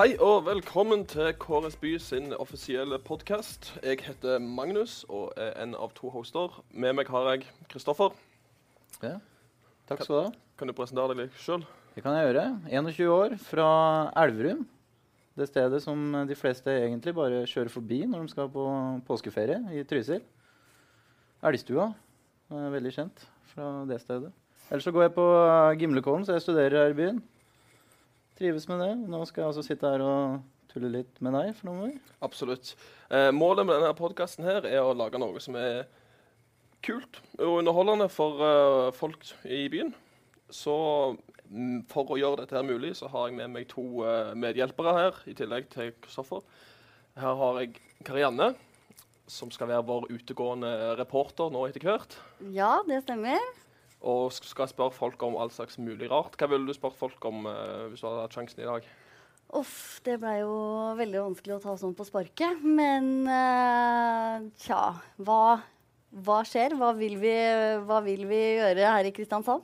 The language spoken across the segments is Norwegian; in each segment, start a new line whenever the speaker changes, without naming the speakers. Hei og velkommen til KRS By sin offisielle podkast. Jeg heter Magnus og er en av to hoster. Med meg har jeg Kristoffer.
Ja. Takk skal du ha.
Kan du presentere deg sjøl?
Det kan jeg gjøre. 21 år, fra Elverum. Det stedet som de fleste egentlig bare kjører forbi når de skal på påskeferie i Trysil. Elgstua. eh, Veldig kjent fra det stedet. Ellers så går jeg på eh, Gimlekollen, så jeg studerer her i byen. Trives med det. Nå skal jeg altså sitte her og tulle litt med deg for noen år.
Absolutt. Eh, målet med denne podkasten her er å lage noe som er kult og underholdende for eh, folk i byen. Så mm, for å gjøre dette her mulig, så har jeg med meg to eh, medhjelpere her, i tillegg til Kristoffer. Her har jeg Karianne, som skal være vår utegående reporter nå etter hvert.
Ja, det stemmer.
Og sk- skal spørre folk om all slags mulig rart. Hva ville du spurt folk om eh, hvis du hadde hatt sjansen i dag?
Uff, det blei jo veldig vanskelig å ta sånn på sparket. Men eh, tja, hva, hva skjer? Hva vil, vi, hva vil vi gjøre her i Kristiansand?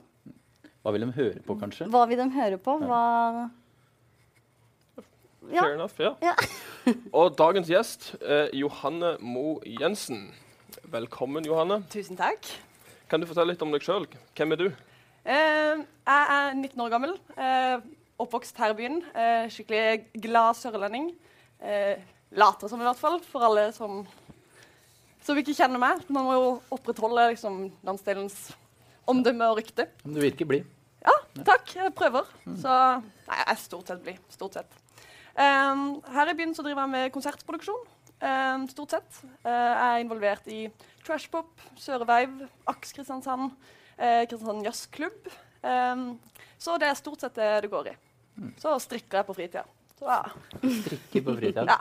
Hva vil de høre på, kanskje?
Hva vil de høre på? Hva Ja.
Fair enough, ja.
Ja.
Og dagens gjest, eh, Johanne Mo Jensen. Velkommen, Johanne.
Tusen takk.
Kan du fortelle litt om deg sjøl? Hvem er du?
Eh, jeg er 19 år gammel, eh, oppvokst her i byen. eh, skikkelig glad sørlending. Eh, later som i hvert fall, for alle som, som ikke kjenner meg. Man må jo opprettholde liksom, landsdelens omdømme og rykte.
Men Du virker blid.
Ja, takk. Jeg prøver. Så Nei, jeg er stort sett blid. Stort sett. Ehm, her i byen så driver jeg med konsertproduksjon. ehm, stort sett. Eh, jeg er involvert i Trashpop, Sørveiv, Aks Kristiansand, eh, Kristiansand Jazzklubb. Ehm, så det er stort sett det det går i. Så strikker jeg på fritida. Så, ja.
Ikke på fritiden.
Ja.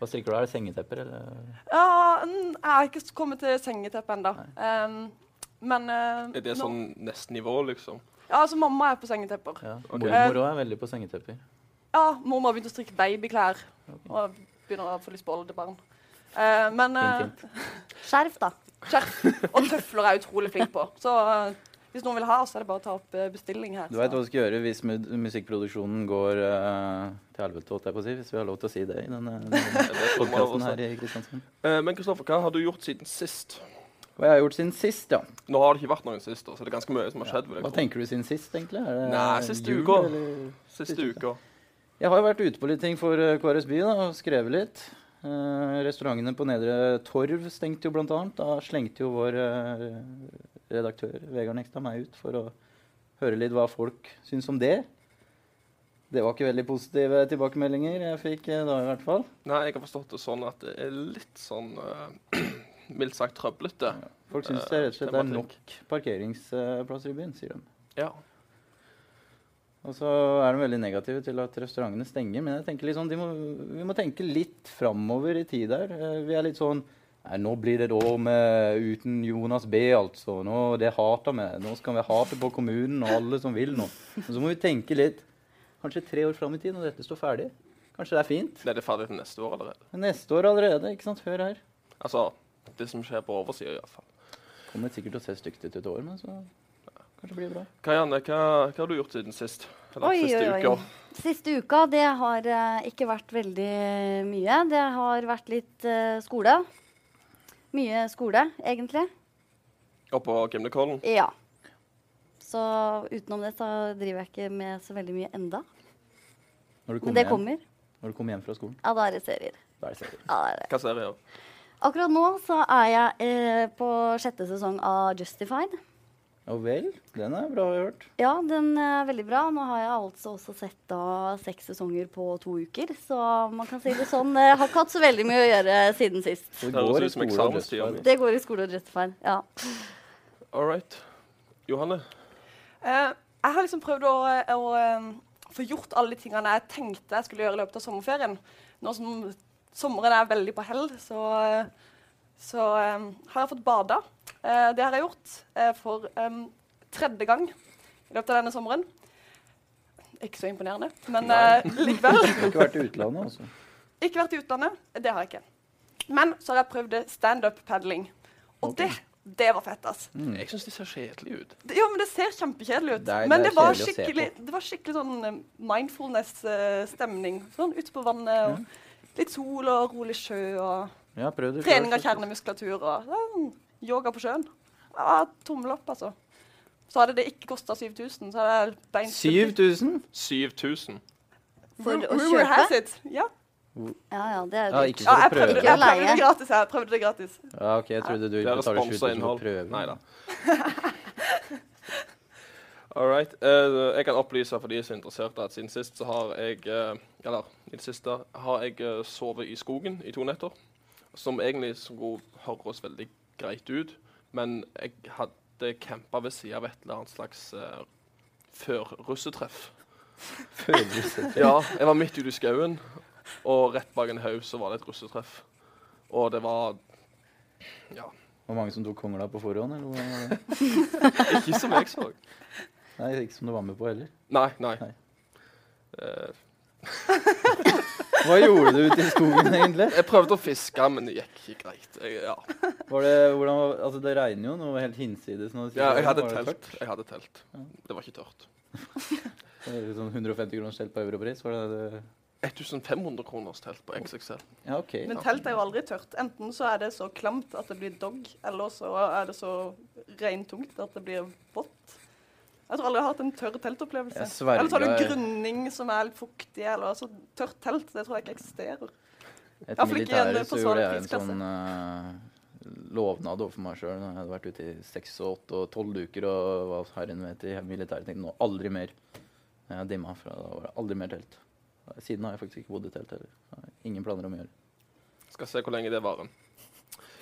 Hva strikker du av? Sengetepper, eller?
Ja, mm, jeg har ikke kommet til sengeteppet ennå. men eh,
Er det
nå-
sånn nesten nivå, liksom?
Ja, altså mamma er på sengetepper.
Ja.
Ok.
Mormor òg er veldig på sengetepper.
Ja, mormor har begynt å strikke babyklær. Og begynner å få lyst på oldebarn. Eh, men eh,
Fint,
Skjerf, da.
skjerf og tøfler er jeg utrolig flink på. Så eh, hvis noen vil ha, så er det bare å ta opp eh, bestilling her.
Du veit
så.
hva du skal gjøre hvis mu musikkproduksjonen går eh, til helvete, holdt jeg på å si. Hvis vi har lov til å si det i denne, denne podkasten her i Kristiansand.
Eh, men Kristoffer, hva har du gjort siden sist?
Hva jeg har gjort siden sist, ja.
Nå har det ikke vært noen sist, da, så det er ganske mye som har skjedd. vil jeg
Hva
tro.
tenker du siden sist, egentlig? Er det
Nei, siste
jul,
uka.
eller?
Siste uka.
Jeg har jo vært ute på litt ting for eh, KRS By da, og skrevet litt. Eh, restaurantene på Nedre Torv stengte jo blant annet. Da slengte jo vår eh, redaktør Vegard Nekstad meg ut for å høre litt hva folk syns om det. Det var ikke veldig positive tilbakemeldinger jeg fikk eh, da, i hvert fall.
Nei, jeg har forstått det sånn at det er litt sånn eh, mildt sagt trøblete.
Folk syns det rett og slett er
Tematikk.
nok parkeringsplasser i byen, sier de.
Ja.
Og så er de veldig negative til at restaurantene stenger. Men jeg tenker liksom, de må, vi må tenke litt framover i tid der. Eh, Vi er litt sånn Nei, nå blir det et år med, uten Jonas B, altså. Nå, det hater vi. Nå skal vi hate på kommunen og alle som vil nå. Men så må vi tenke litt kanskje tre år fram i tid, når dette står ferdig. Kanskje det er fint.
Er det ferdig til neste år allerede?
Men neste år allerede. ikke sant? Hør her.
Altså, det som skjer på oversida, iallfall.
Kommer sikkert til å se stygt ut et år, men så kanskje blir det bra.
Karianne, hva, hva har du gjort siden sist? Eller
Oi,
siste
oi, oi.
uker?
Siste uka, det har eh, ikke vært veldig mye. Det har vært litt eh, skole. Mye skole, egentlig.
Oppe på Gimlekollen?
Ja. Så utenom det så driver jeg ikke med så veldig mye enda.
Når du
Men
kommer,
det kommer.
Hjem, når du kommer hjem fra skolen,
Ja, da er det serier.
da er det seriøst.
Ja, da er det.
Hva ser jeg?
Akkurat nå så er jeg eh, på sjette sesong av Justified.
Ja vel. Den er bra hørt.
Ja, den er veldig bra. Nå har jeg altså også sett da seks sesonger på to uker. Så man kan si det sånn. Jeg har ikke hatt så veldig mye å gjøre siden sist.
Så
Det høres
går i
ut som
skole og
eksamenstid,
dødsfall.
ja.
Det går i skole og Justified. Ja.
All right. Johanne,
Eh, jeg har liksom prøvd å, eh, å eh, få gjort alle de tingene jeg tenkte jeg skulle gjøre i løpet av sommerferien. Nå som sommeren er veldig på hell, så, eh, så eh, har jeg fått bada. Eh, det har jeg gjort eh, for eh, tredje gang i løpet av denne sommeren. Ikke så imponerende, men
Nei.
eh, likevel.
Du har ikke vært i utlandet, altså.
Ikke vært i utlandet. Det har jeg ikke. Men så har jeg prøvd standup-padling. Og
Ok.
det Det var fett, ass.
Jeg syns de ser kjedelige ut.
Det- Ja, men det ser kjempekjedelig ut.
Det er- det
men det,
er
var
kjedelig å se
skikkelig, det var skikkelig sånn mindfulness-stemning. Sånn ute på vannet og litt sol og rolig sjø og
Jeg har prøvd det selv,
trening av
faktisk.
kjernemuskulatur og sånn, yoga på sjøen. Ja, tommel opp, altså. Så hadde det ikke kosta 7000, så hadde jeg beint
7000?
7000.
For å
Rumor has
kjøpe?
it. Ja.
Ja, ja, det er
Ja,
jo dyrt.
ikke
ja,
for å
jeg
prøve.
prøvde, jeg prøvde
Leie.
det gratis. Jeg prøvde det gratis.
Ja, ok, jeg trodde du
Det er
betaler 7000
responsa
for
innhold.
prøven.
Nei da. All right. Eh, jeg kan opplyse for de som er interessert at siden sist så har jeg eh, Eller i det siste har jeg eh, sovet i skogen i to netter. Som egentlig skulle høres veldig greit ut, men jeg hadde campa ved sida av et eller annet slags eh, før-russetreff. Ja, jeg var midt ute i skauen, og rett bak en haug så var det et russetreff. Og det var
Hvor mange som tok kongla på forhånd? Eller? hvordan var det?
ikke som jeg så.
Nei, ikke som du var med på heller.
Nei, nei.
Nei.
Eh,
Hva gjorde du ute i skogen, egentlig?
jeg prøvde å fiske, men det gikk ikke greit. Jeg, ja.
Var det, hvordan, var- altså, det regner jo noe helt hinsides. Når du sier
Ja,
det,
jeg hadde
var det
telt.
tørt?
Jeg hadde telt.
Ja.
Det var ikke tørt.
Det er Sånn 150 kroner stelt på europris? Var det det?
1500 kroners telt på XXL.
Ja, OK.
Men telt er jo aldri tørt. Enten så er det så klamt at det blir dog, eller så er det så regntungt at det blir vått. Jeg tror aldri jeg har hatt en tørr teltopplevelse.
Jeg sverger-
Eller så har du grunning som er litt fuktig, eller altså tørt telt. Det tror jeg ikke eksisterer.
Etter
Ja, for ikke igjen
militæret
på
så gjorde jeg en
svarfisklasse.
sånn eh, lovnad overfor meg sjøl. Jeg hadde vært ute i seks og åtte og tolv uker og hva herren vet i militæret. tenkte nå aldri mer. Jeg har dimma fra da var det aldri mer telt. Siden har jeg faktisk ikke bodd i telt heller. Jeg har Ingen planer om å gjøre det.
Skal se hvor lenge det varer.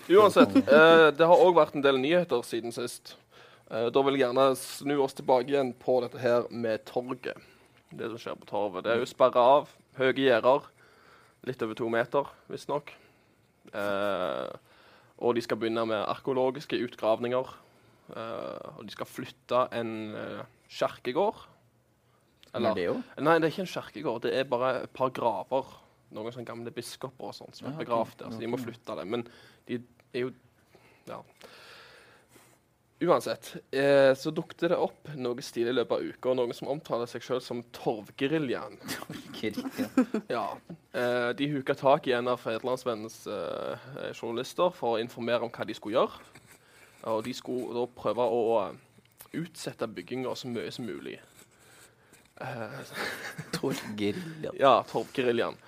Uansett, eh, det har òg vært en del nyheter siden sist. Eh, da vil jeg gjerne snu oss tilbake igjen på dette her med torget. Det som skjer på torvet. Det er jo sperra av. Høye gjerder. Litt over to meter, visstnok. Eh, og de skal begynne med arkeologiske utgravninger. Eh, og de skal flytte en eh, kjerkegård.
Men det er jo.
Nei, det er ikke en kjerkegård. Det er bare et par graver. Noen sånne gamle biskoper og sånt som
Ja,
er
ok.
begravd der, så de må flytte det. Men de er jo Ja. Uansett, eh, så dukket det opp noe stilig i løpet av uka, og noen som omtaler seg sjøl som Torvgeriljaen.
Kirke.
Ja. Eh, de huka tak i en av Fedrelandsvennens eh, eh, journalister for å informere om hva de skulle gjøre. Og de skulle da prøve å eh, utsette bygginga så mye som mulig. Eh,
Torgerill.
ja, Torpgeriljaen.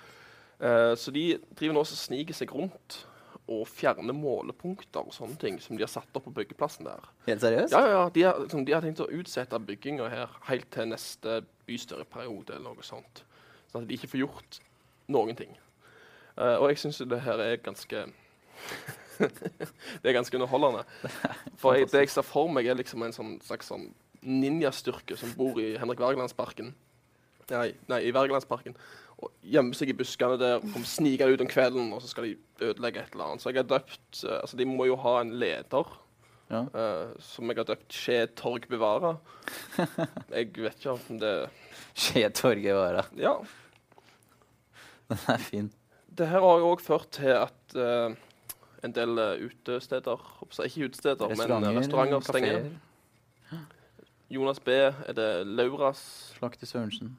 Eh, så de driver nå og sniker seg rundt og fjerner målepunkter og sånne ting som de har satt opp på byggeplassen der.
Helt seriøst?
Ja, ja, ja, de har, liksom, de har tenkt å utsette bygginga her helt til neste bystyreperiode eller noe sånt. Sånn at de ikke får gjort noen ting. Eh, og jeg syns det her er ganske Det er ganske underholdende. For jeg, det jeg ser for meg, er liksom en sånn, slags sånn ninjastyrke som bor i Henrik Wergelandsparken. Nei, nei, i Wergelandsparken. Og gjemmer seg i buskene der, kom snikende ut om kvelden, og så skal de ødelegge et eller annet. Så jeg har døpt eh, Altså, de må jo ha en leder.
Ja.
Eh, som jeg har døpt Skje Torg bevare. Jeg vet ikke om det
Skje torget vara.
Ja.
Den er fin.
Det her har jo òg ført til at eh, en del eh, utesteder håper jeg, Ikke utesteder, men eh, restauranter stenger.
kaféer.
Jonas B. Er det Lauras
Slakter Sørensen.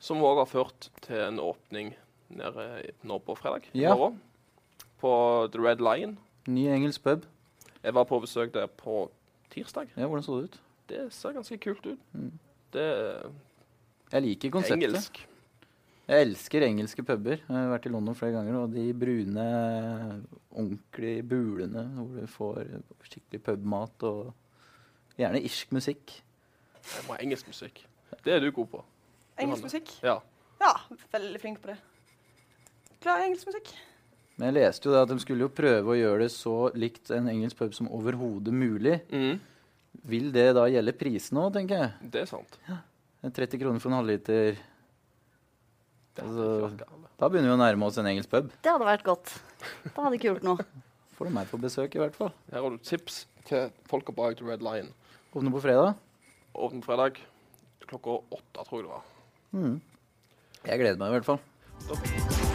Som òg har ført til en åpning nede i- nå på fredag. i
Ja.
morgen, På The Red Lion.
Ny engelsk pub.
Jeg var på besøk der på tirsdag.
Ja, hvordan så det ut?
Det ser ganske kult ut.
Mm.
Det er
Jeg liker konseptet.
engelsk.
Jeg elsker engelske puber. Jeg har vært i London flere ganger, og de brune, ordentlige bulene hvor du får skikkelig pubmat og gjerne irsk musikk.
Jeg må ha engelsk musikk. Det er du god på.
Engelsk musikk.
Ja.
Ja, veldig flink på det. Glad i engelsk musikk.
Men jeg leste jo det at de skulle jo prøve å gjøre det så likt en engelsk pub som overhodet mulig.
Mm.
Vil det da gjelde prisen òg, tenker jeg?
Det er sant.
30 kroner for en halvliter.
Det hadde
Altså-
ikke vært galt.
Da begynner vi å nærme oss en engelsk pub.
Det hadde vært godt. Det hadde ikke gjort noe.
Får du meg på besøk, i hvert fall.
Her har du tips til folka bak The Red Lion.
Åpner på fredag.
Åpen fredag klokka åtte, tror jeg det var.
Mm. Jeg gleder meg i hvert fall.
Da-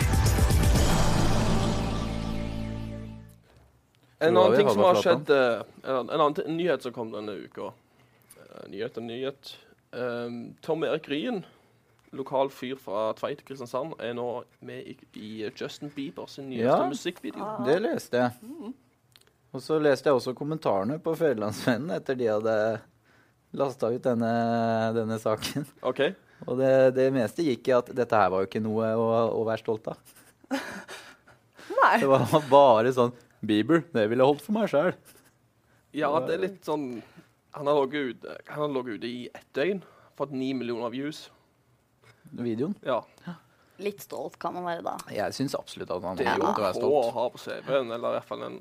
En
Hvor var
annen
vi,
ting som har
Havarflatan?
skjedd eh, En en annen ti- nyhet som kom denne uka. Eh, Nyhet og nyhet. Eh, Tom Erik Ryen, lokal fyr fra Tveit i Kristiansand, er nå med i, i Justin Bieber sin nyeste
Ja.
musikkvideo.
Ah.
Det leste jeg. Og så leste jeg også kommentarene på Fødelandsvennen etter de hadde lasta ut denne, denne saken.
OK?
Og det, det meste gikk i at dette her var jo ikke noe å, å være stolt av.
Nei.
Det var bare sånn Bieber, det ville jeg holdt for meg sjæl.
Ja, det er litt sånn Han har ligget ute, han har ligget ute i ett døgn. Fått ni millioner views.
Videoen.
Ja.
Litt stolt kan man være da.
Jeg syns absolutt at han
Det
har
er jo
grunn til å være
på å
stolt.
ha på CV-en, eller i hvert fall en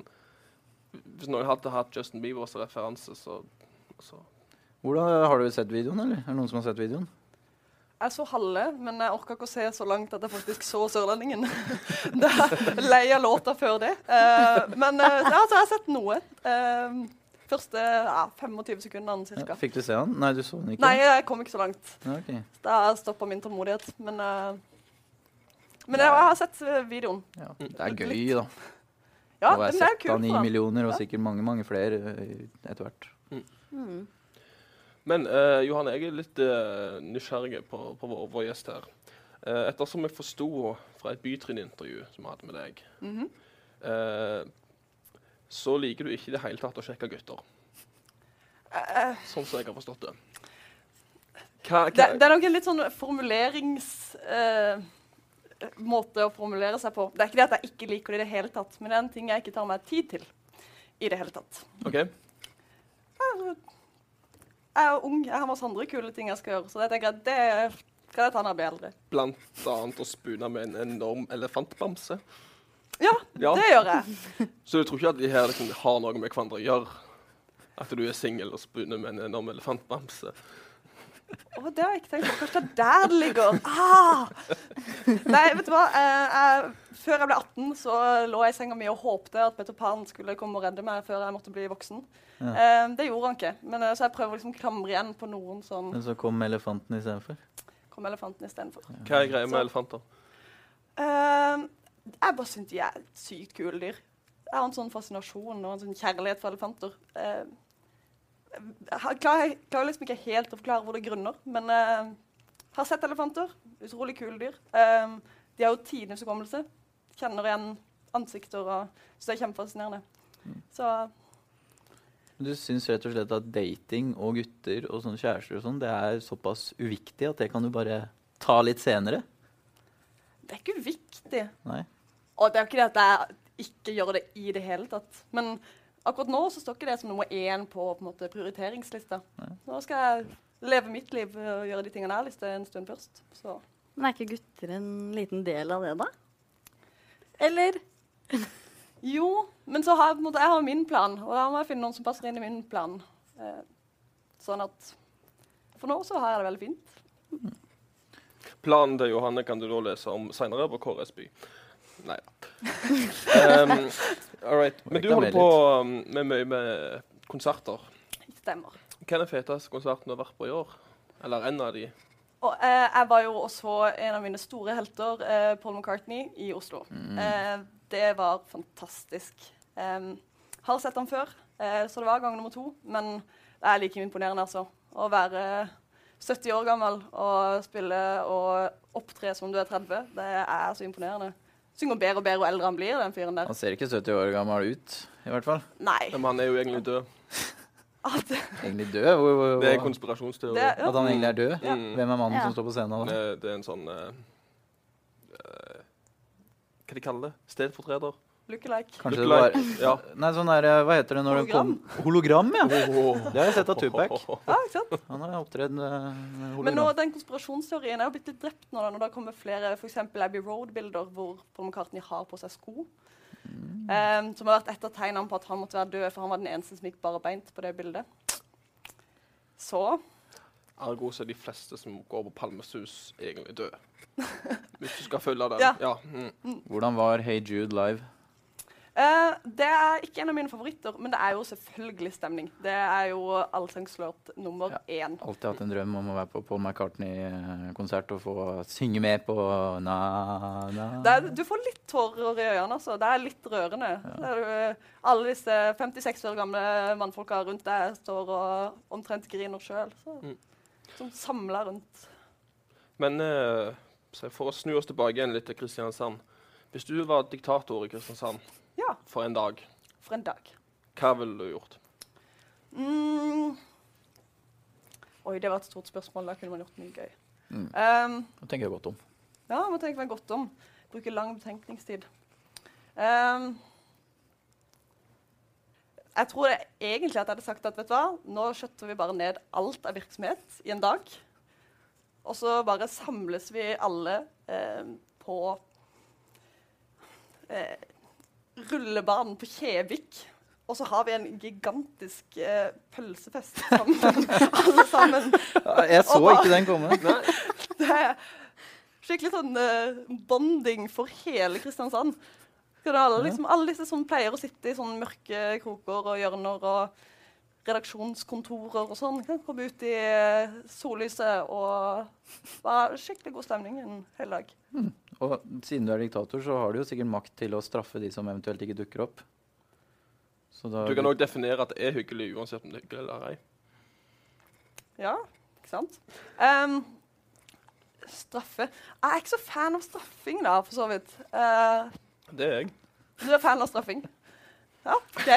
Hvis noen hadde hatt Justin Bieber som referanse, så, så
Hvordan, har du sett videoen, eller? Er det noen som har sett videoen?
Jeg så halve, men jeg orka ikke å se så langt at jeg faktisk så Sørlendingen. Da lei av låta før det. Eh, men eh, ja, så jeg har sett noe. Eh, første ja, 25 sekundene
Ja,
ca.
fikk du se han? Nei, du så den ikke?
Nei, jeg kom ikke så langt.
Ja, ok.
Da stoppa min tålmodighet. Men, eh, men jeg, jeg har sett eh, videoen.
ja. Det er gøy, da.
Ja,
å være
den er jo
sett
kul
av ni
for ham.
millioner, og
Ja.
sikkert mange, mange flere eh, etter hvert.
Mm.
Men eh, Johan, jeg er litt eh, nysgjerrig på, på vår, vår gjest her. Eh, ettersom jeg forsto fra et bytrinnintervju som vi hadde med deg,
Mhm.
eh, så liker du ikke i det hele tatt å sjekke gutter.
Eh,
Sånn som jeg har forstått det. Hva, hva,
Det, det er nok en litt sånn formuleringsmåte måte å formulere seg på. Det er ikke det at jeg ikke liker det i det hele tatt, men det er en ting jeg ikke tar meg tid til i det hele tatt.
OK.
Jeg er ung, jeg har masse andre kule ting jeg skal gjøre, så jeg tenker at det kan jeg ta når jeg blir eldre.
Blant annet å spune med en enorm elefantbamse.
Ja,
Ja.
det gjør jeg.
Så du tror ikke at de her liksom, har noe med hverandre å gjøre? At du er singel og spuner med en enorm elefantbamse?
Å, det har jeg ikke tenkt på. Kanskje det er der det ligger. Ah! Nei, vet du hva. Eh, jeg, før jeg ble 18, så lå jeg i senga mi og håpte at Peter Pan skulle komme og redde meg før jeg måtte bli voksen.
Ja.
Eh, det gjorde han ikke, men, eh, så jeg prøver liksom å klamre igjen på noen som
Men så kom elefanten istedenfor.
kom elefanten istedenfor.
Hva er greia med
Så-
elefanter?
Eh, jeg bare syns de er sykt kule dyr. Jeg har en sånn fascinasjon og en sånn kjærlighet for elefanter. Eh, jeg klarer, jeg klarer liksom ikke helt å forklare hvor det grunner, men eh, har sett elefanter. Utrolig kule dyr. Eh, de har jo tidenes hukommelse. Kjenner igjen ansikter og syns det er kjempefascinerende. Så
Du syns rett og slett at dating og gutter og sånne kjærester og sånn, det er såpass uviktig at det kan du bare ta litt senere?
det er ikke uviktig.
Nei.
Og det er jo ikke det at jeg ikke gjør det i det hele tatt. Men akkurat nå så står ikke det som nummer én på, på en måte, prioriteringslista.
Nei.
Nå skal jeg leve mitt liv eh, og gjøre de tingene jeg har lyst til en stund først. Så.
Men er ikke gutter en liten del av det, da? Eller?
Jo, men så har jeg, på en måte, jeg har min plan, og da må jeg finne noen som passer inn i min plan. Eh, sånn at For nå så har jeg det veldig fint.
Planen til Johanne kan du da lese om seinere på KRS By. Nei da. Um, all right. Men du holder på um, med mye med konserter.
Stemmer.
Hva er den feteste konserten du har vært på i år? Eller en av de?
Og eh, jeg var jo også en av mine store helter, eh, Paul McCartney, i Oslo. Eh, det var fantastisk. Em, har sett han før, eh, så det var gang nummer to. Men det er like imponerende, altså. Å være 70 år gammel og spille og opptre som du er 30, det er så imponerende. Synger bedre og bedre jo eldre han blir, den fyren der.
Han ser ikke 70 år gammel ut, i hvert fall.
Nei.
Men han er jo egentlig død.
At, det,
Egentlig død. Hvor, hvor,
Det er en
hvor-
konspirasjonsteori.
ja.
At han egentlig er død?
Ja.
Hvem er mannen
Ja.
som står på scenen da?
Det, det er en sånn eh, eh, Hva de kaller det? Stedfortreder?
Lookalike.
Kanskje det var
Lookalike. Ja.
Nei, sånn der, eh, hva heter det når
Hologram.
det kom Hologram, ja!
Oh.
Det har jeg sett av Tupac.
Ja, Ah, ikke sant?
Han har opptredd eh, med hologram.
Men nå, den konspirasjonsteorien er jo blitt litt drept nå, da, når det kommer flere for eksempel Abbey Road-bilder hvor Paul McCartney har på seg sko. Em, som har vært et av tegnene på at han måtte være død, for han var den eneste som gikk bare beint på det bildet. Så
Ergo så er de fleste som går på Palmesus, egentlig døde. Hvis du skal følge den.
Ja.
Ja. Mm.
Hvordan var Hey Jude live?
Eh, det er ikke en av mine favoritter, men det er jo selvfølgelig stemning. Det er jo allsangslåt nummer én.
Alltid hatt en drøm om å være på Paul McCartney-konsert og få synge med på na, na.
Det er, du får litt tårer i øynene, altså. Det er litt rørende. Det er, jo, eh, alle disse 56 år gamle mannfolka rundt deg står og omtrent griner sjøl.
Mm.
Som samler rundt.
Men eh, så for å snu oss tilbake igjen litt til Kristiansand. Hvis du var diktator i Kristiansand
Ja,
for en dag,
for en dag.
hva ville du gjort?
Mm. Oi, det var et stort spørsmål. Da kunne man gjort mye gøy.
Mm.
Um,
Nå tenker jeg godt om.
ja, må tenke meg godt om. Bruke lang betenkningstid. Um, jeg tror jeg egentlig at jeg hadde sagt at vet du hva, nå skjøtter vi bare ned alt av virksomhet i en dag. Og så bare samles vi alle eh, på eh, rullebanen på Kjevik. Og så har vi en gigantisk eh, pølsefest sammen. alle sammen.
Jeg så
Og da-
ikke den komme.
Det er skikkelig sånn eh, bonding for hele Kristiansand. Skal det alle, liksom, alle disse som pleier å sitte i sånne mørke kroker og hjørner og redaksjonskontorer og sånn, kan komme ut i eh, sollyset og det var skikkelig god stemning en hel dag.
Og siden du er diktator, så har du jo sikkert makt til å straffe de som eventuelt ikke dukker opp. Så da
Du kan òg definere at det er hyggelig uansett om det er hyggelig eller ei.
Ja, ikke sant? Ehm, straffe Jeg er ikke så fan av straffing, da, for så vidt. Eh,
Det er jeg.
Du er fan av straffing? Ja, OK.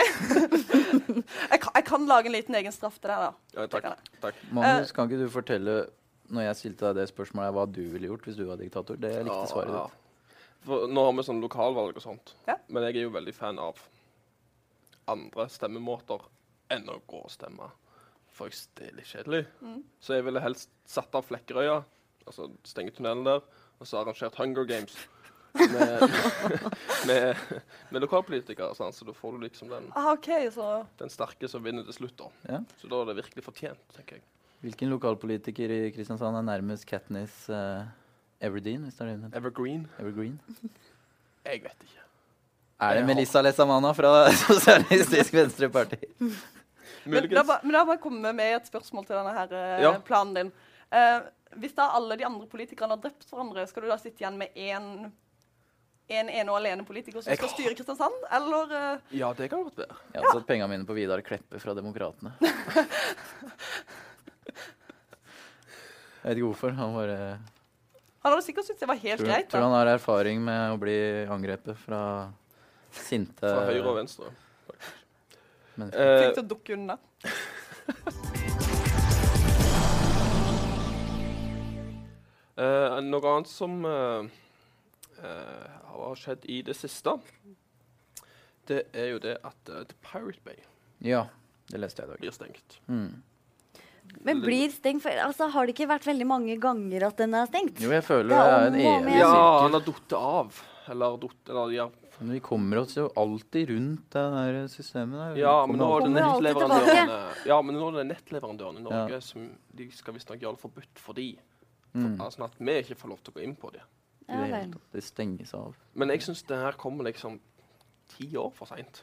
jeg, kan, jeg kan lage en liten egen straff til deg, da.
Ja,
Det
takk.
kan jeg.
takk.
Magnus, kan ikke du fortelle når jeg stilte deg det spørsmålet, hva du ville gjort hvis du var diktator? Det jeg
Ja,
likte svaret
ja.
ditt.
For nå har vi sånn lokalvalg og sånt,
Ja.
men jeg er jo veldig fan av andre stemmemåter enn å gå og stemme. For jeg, det er litt kjedelig.
Mm.
Så jeg ville helst satt av Flekkerøya, altså stenge tunnelen der, og så arrangert Hunger Games. Med, med, med lokalpolitikere, sant? så da får du liksom den,
Ah, OK, så
den sterke som vinner til slutt. da.
Ja.
Så da er det virkelig fortjent, tenker jeg.
Hvilken lokalpolitiker i Kristiansand er nærmest Katniss eh, Everdeen? Hvis det er det hun heter?
Evergreen?
Evergreen?
Jeg vet ikke.
Er det
Ja.
Melissa Lesamana fra Sosialistisk Venstreparti?
Men da,
Muligens.
ba- men da må jeg komme med et spørsmål til denne her, eh,
Ja.
planen din. Eh, hvis da alle de andre politikerne har drept hverandre, skal du da sitte igjen med én en ene og alene politiker som
Jeg-
skal styre Kristiansand, eller eh,
Ja, det kan godt være.
Jeg hadde satt pengene mine på Vidar Kleppe fra Demokratene. Jeg vet ikke hvorfor. Han bare
Han hadde sikkert syntes det var helt
tror,
greit.
tror
da.
han har erfaring med å bli angrepet fra sinte
Fra høyre og venstre.
mennesker.
Eh,
Flink til å dukke unna.
Eh, noe annet som eh, eh, har skjedd i det siste, det er jo det at eh, The Pirate Bay
Ja, det leste jeg i dag.
blir stengt.
Mm.
Men blir stengt for, altså, Har det ikke vært veldig mange ganger at den er stengt?
Jo, jeg føler
Det
det er
er
en
om og om
evig
igjen.
Ja,
sirkel.
eller datt av. Eller datt Eller ja.
Men vi kommer oss jo alltid rundt det der systemet der. Vi
ja, men
Mm,
nå
kommer
er det
alltid-
Kommer alltid
nettleverandørene Ja, men nå er det nettleverandørene i Norge
Ja.
som de skal visstnok gjøre det forbudt for de. For,
Mm.
Altså at vi ikke får lov til å gå inn på det.
i
Ja,
det hele
vel.
tatt. Det stenges av.
Men jeg syns det her kommer liksom ti år for seint.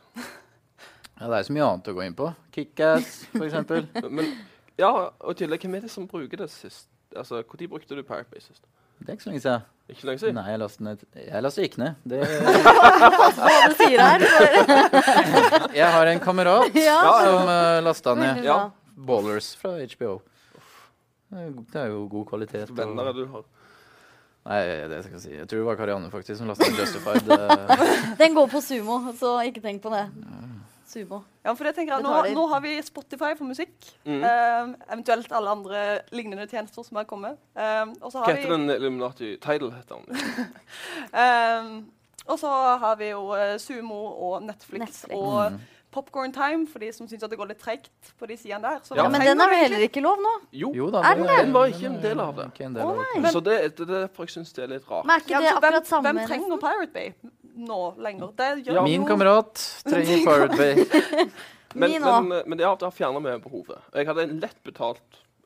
Ja, det er så mye annet å gå inn på. Kickass, for eksempel.
Men ja, og i tillegg, hvem er det som bruker det sist? Altså, Når brukte du Pirate Bay sist?
Det er ikke så lenge siden.
Ikke lenge siden?
Nei, jeg lastet ned. Jeg lastet ikke ned. Det,
Hva du sier her? for-
jeg har en kamerat
Ja.
som uh, lasta
Veldig
ned
Ja.
bra.
Ballers fra HBO. Det er jo- det er jo god kvalitet. og-
Venner er det du har.
Nei, det skal jeg si. Jeg tror det var Karianne faktisk som lasta ned Justified. eh.
Den går på sumo, så ikke tenk på det. Sumo.
Ja, for jeg tenker at nå,
Betaler.
nå har vi Spotify for musikk.
Mhm.
eh, eventuelt alle andre lignende tjenester som har kommet. Eh, og så
Hva
har vi,
heter den Illuminati Tidal? heter den.
eh, og så har vi jo eh, Sumo og Netflix,
Netflix.
og
Mm.
Popcorn Time for de som syns det går litt treigt på de sidene der. Så
Ja.
hva
Ja, men
trenger
den er
vi
vel
egentlig?
heller ikke lov nå?
Jo.
Jo da,
Er
det-
den det? Den var ikke en del av det.
Ikke en del
Å,
av det.
nei.
Så det, det, det er derfor jeg syns det er litt rart.
Men er ikke
Ja,
det
så hvem,
akkurat samme?
hvem trenger Pirate Bay nå lenger? Det gjør
Ja.
Min
jo-
kamerat trenger Pirate Bay.
Men, eh,
Min
men, men ja, det har fjerna meg behovet. Jeg hadde lett betalt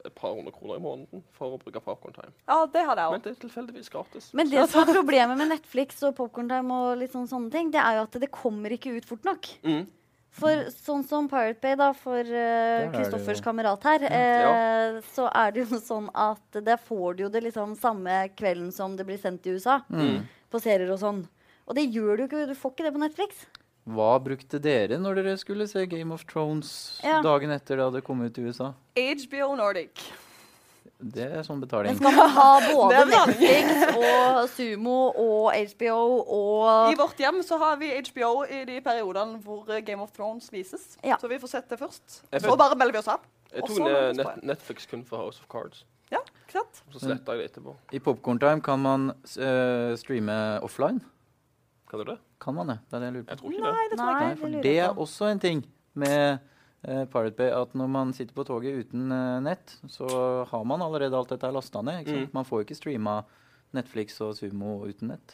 et par hundre kroner i måneden for å bruke Popcorntime.
Ja, det hadde jeg
Men
òg.
det er tilfeldigvis gratis.
Men det som er problemet med Netflix og Popcorntime og litt sånn sånne ting, det er jo at det kommer ikke ut fort nok.
Mm.
For sånn som Pirate Bay, da, for eh,
er det
Kristoffers
jo-
kamerat her, eh, så er det jo sånn at der får du jo det liksom samme kvelden som det blir sendt i USA.
Mm.
Mm.
På serier og sånn. Og det gjør du ikke. Du får ikke det på Netflix.
Hva brukte dere når dere skulle se Game of Thrones
Ja.
dagen etter det hadde kommet til USA?
HBO Nordic.
Det er sånn
Men
betaling.
skal man ha både
Det er sant.
Netflix og Sumo og HBO
I
og
vårt hjem så har vi HBO i de periodene hvor eh, Game of Thrones vises.
Ja.
Så vi får sett det først.
Jeg
Så
føl-
bare melder vi oss av.
Jeg tok
Også
ned
Nordic
net Netflix kun for House of Cards,
Ja, ikke sant?
og så
Mm.
sletta jeg det etterpå.
I Popcorntime kan man eh, streame offline.
Kan du det?
Kan man det? Det er det jeg lurer på.
Jeg tror ikke
Nei,
det.
det tror jeg
Nei.
ikke.
Nei, for
det lurer
det
jeg
er
på.
også en ting med eh, Pirate Bay, at når man sitter på toget uten eh, nett, så har man allerede alt dette lasta ned. Ikke sant? Man får ikke streama Netflix og Sumo uten nett.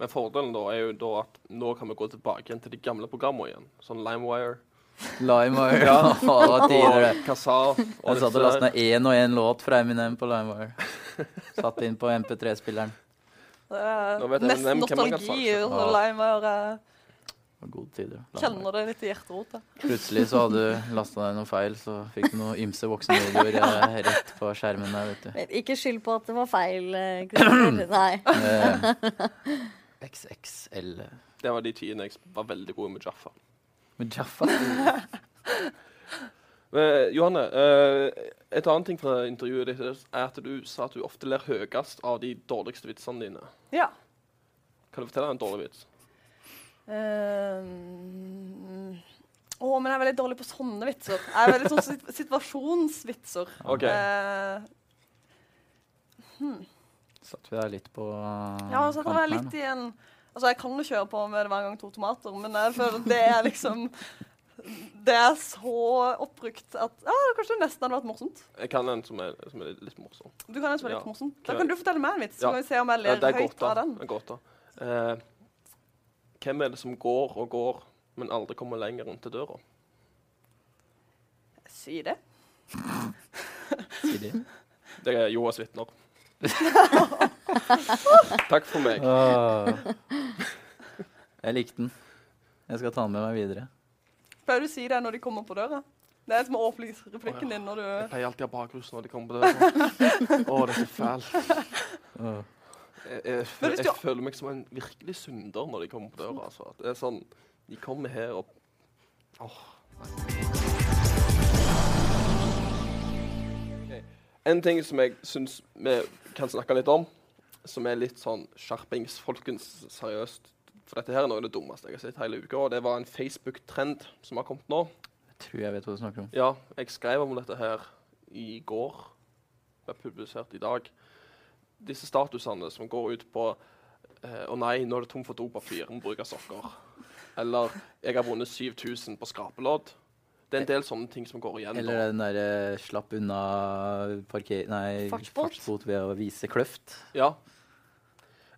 Men fordelen da er jo da at nå kan vi gå tilbake igjen til de gamle programmene igjen. Sånn LimeWire
LimeWire. Ja, det var tider, det.
og Kazaa. og
Jeg satt
disse
og lasta ned én og én låt fra Eminem på LimeWire. Satt inn på MP3-spilleren.
Det
Nå
er
vet jeg
nesten
hvem Cameron kan
nostalgi.
snakke
om.
og Leimer eh,
Det var Gode tider. LimeWire.
kjenner det litt i hjerterota.
Plutselig så hadde du lasta ned noe feil, så fikk du noen ymse voksenvideoer eh, rett på skjermen der, vet du.
Men Ikke skyld på at det var feil. eh, Kristoffer. Nei.
Eh, XXL
Det var de tidene jeg var veldig god med Jaffa.
Med Jaffa.
Eh, Johanne, eh, et annet ting fra intervjuet ditt er at du sa at du ofte ler høyest av de dårligste vitsene dine.
Ja.
Kan du fortelle en dårlig vits?
Um, Å, men jeg er veldig dårlig på sånne vitser. Jeg er veldig sånn sit- situasjonsvitser.
OK.
Eh,
Satt vi der litt på
ja, så det var
kanten her,
litt i en Altså, jeg kan jo kjøre på med det hver gang to tomater, men jeg føler at det er liksom Det er så oppbrukt at Ja, kanskje det nesten hadde vært morsomt.
Jeg kan en som er, som er litt morsom.
Du kan jo spille litt
Ja.
morsomt. Da kan du fortelle meg en vits, så
Ja.
kan vi se om jeg
Ja,
ler
det er
høyt av
gåta.
den.
Det er gåta. Eh, hvem er det som går og går, men aldri kommer lenger rundt til døra?
Si det.
da. Sier de.
Det er Joas vitner. Takk for meg.
Åh. Jeg likte den. Jeg skal ta den med meg videre.
Pleier du å si det når de kommer på døra? Det er som å åpne
Å, ja.
replikken din når
Jeg
du
pleier alltid å ha bakrus når de kommer på døra. sånn. Å, det er så fælt.
Åh.
Jeg, jeg,
Men
føl-
hvis
jeg
du-
føler meg som en virkelig synder når de kommer på døra. Altså. At Det er sånn, De kommer her og Åh. Ok. En ting som jeg syns vi kan snakke litt om, som er litt sånn skjerpings, folkens, seriøst For dette her er noe av det dummeste jeg har sett hele uka. Og det var en Facebook-trend som har kommet nå.
Jeg tror jeg vet hva du snakker om.
Ja, jeg skrev om dette her i går. Det er publisert i dag. Disse statusene som går ut på eh, 'Å nei, nå er det tom for dopapir. Må bruke sokker.' Eller 'Jeg har vunnet 7000 på skrapelodd'. Det er en del sånne ting som går igjen. nå.
Eller den derre slapp unna parker... Nei,
Fartsbot.
ved å vise kløft.
Ja.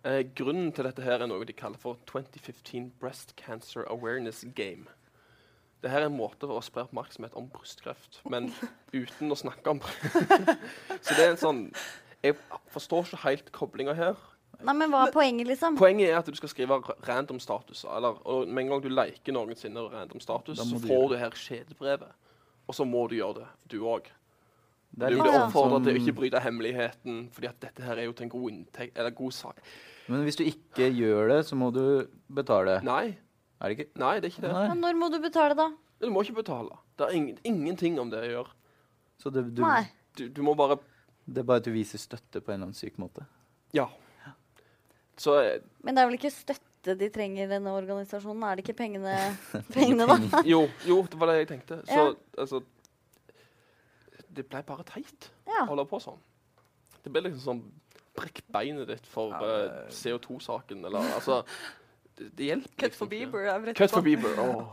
Eh, grunnen til dette her er noe de kaller for 2015 Breast Cancer Awareness Game. Dette er en måte for å spre oppmerksomhet om brystkreft, men uten å snakke om det. Så det er en sånn Jeg forstår ikke helt koblinga her.
Nei, men hva er poenget, liksom?
Poenget er at du skal skrive ra- random status. Eller, og med en gang du liker noensinne random status,
Da
så
må du
får
gjøre
du her kjedebrevet. Og så må du gjøre det, du òg.
Det
Du
litt
blir
sånn
oppfordra til å
som-
ikke bryte hemmeligheten, fordi at dette her er jo til en god inntekt Eller god sak.
Men hvis du ikke gjør det, så må du betale.
Nei,
Er det ikke?
nei, det er ikke det.
Men
Nei.
når må du betale, da?
Du må ikke betale. Det er ingen, ingenting om det å gjøre.
Så det, du,
Nei.
Du, du må bare
det er bare at du viser støtte på en eller annen syk måte.
Ja. Så eh,
Men det er vel ikke støtte de trenger, denne organisasjonen? Er det ikke pengene, pengene da?
Jo, jo, det var det jeg tenkte. Så
Ja.
altså Det ble bare teit
Ja.
å holde på sånn. Det ble liksom sånn Brekk beinet ditt for eh, CO2-saken, eller altså Det, det hjelper
Cut
liksom
for
ikke.
Bieber. Jeg vet
Cut
ikke
for Bieber. åh.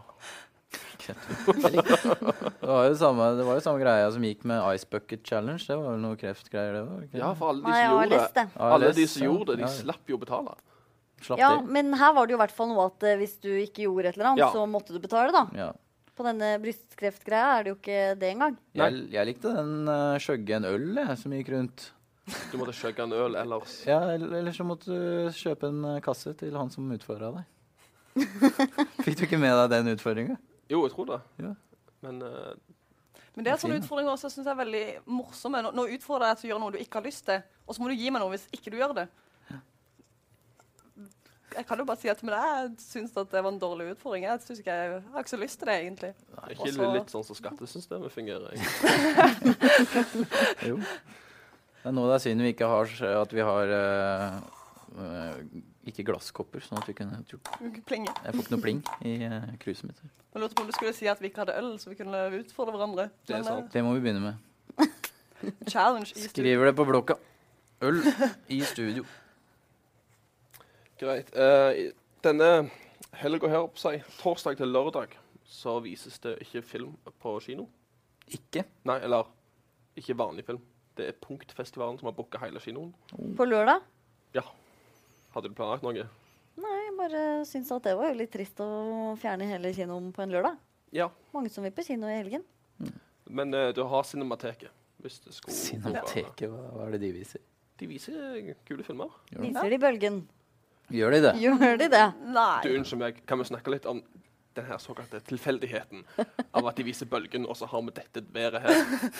Det var jo samme, det var jo samme greia som gikk med Ice Bucket Challenge. Det var vel noe kreftgreier, det òg?
Ja, for alle de
Nei, jeg
som
har
gjorde
lest
det.
det.
Alle de som gjorde det, de slapp jo å betale.
slapp
Ja,
til.
men her var det jo i hvert fall noe at eh, hvis du ikke gjorde et eller annet,
Ja.
så måtte du betale, da.
Ja.
på denne brystkreftgreia er det jo ikke det engang.
Jeg, jeg likte den uh, skjøgge en øl jeg, som gikk rundt.
Du måtte skjøgge en øl ellers.
Ja, el- Eller så måtte du kjøpe en eh, kasse til han som utfordra deg. Fikk du ikke med deg den utfordringa?
Jo, jeg tror det.
Ja.
Men eh,
Men det er
Den er
sånne
fin, da.
utfordringer også, jeg synes jeg er veldig morsomme. Nå, nå utfordrer jeg deg til å gjøre noe du ikke har lyst til, og så må du gi meg noe hvis ikke du gjør det. Jeg kan jo bare si at men jeg syns at det var en dårlig utfordring. Jeg synes ikke jeg, jeg har ikke så lyst til det, egentlig.
er ikke
altså.
også-
litt sånn som skattesystemet fungerer? egentlig?
Jo. Det er noe det er synd vi ikke har, s- at vi har eh, eh, ikke glasskopper, sånn at vi kunne gjort
Plinge.
Jeg får ikke noe pling i eh, kruset mitt.
Jeg lurte på om du skulle si at vi ikke hadde øl, så vi kunne utfordre hverandre.
Det er
Men,
sant.
Det må vi begynne med.
eh, Challenge i studio.
Skriver det på blokka. Øl i studio.
Greit. Eh, i- denne helga her, på seg, torsdag til lørdag, så vises det ikke film på kino.
Ikke.
Nei, eller ikke vanlig film. Det er Punktfestivalen som har booka hele kinoen.
På lørdag?
Hadde du planlagt noe?
Nei, jeg bare syns at det var jo litt trist å fjerne hele kinoen på en lørdag.
Ja.
Mange som vil på kino i helgen.
Men eh, du har Cinemateket. Hvis det skulle
Cinemateket, hva, hva er det de viser?
De viser kule filmer.
Gjør de,
Viser de bølgen?
Gjør de det?
Gjør de det?
Du,
Nei.
Unnskyld meg, kan vi snakke litt om den her såkalte tilfeldigheten av at de viser bølgen, og så har vi dette været her?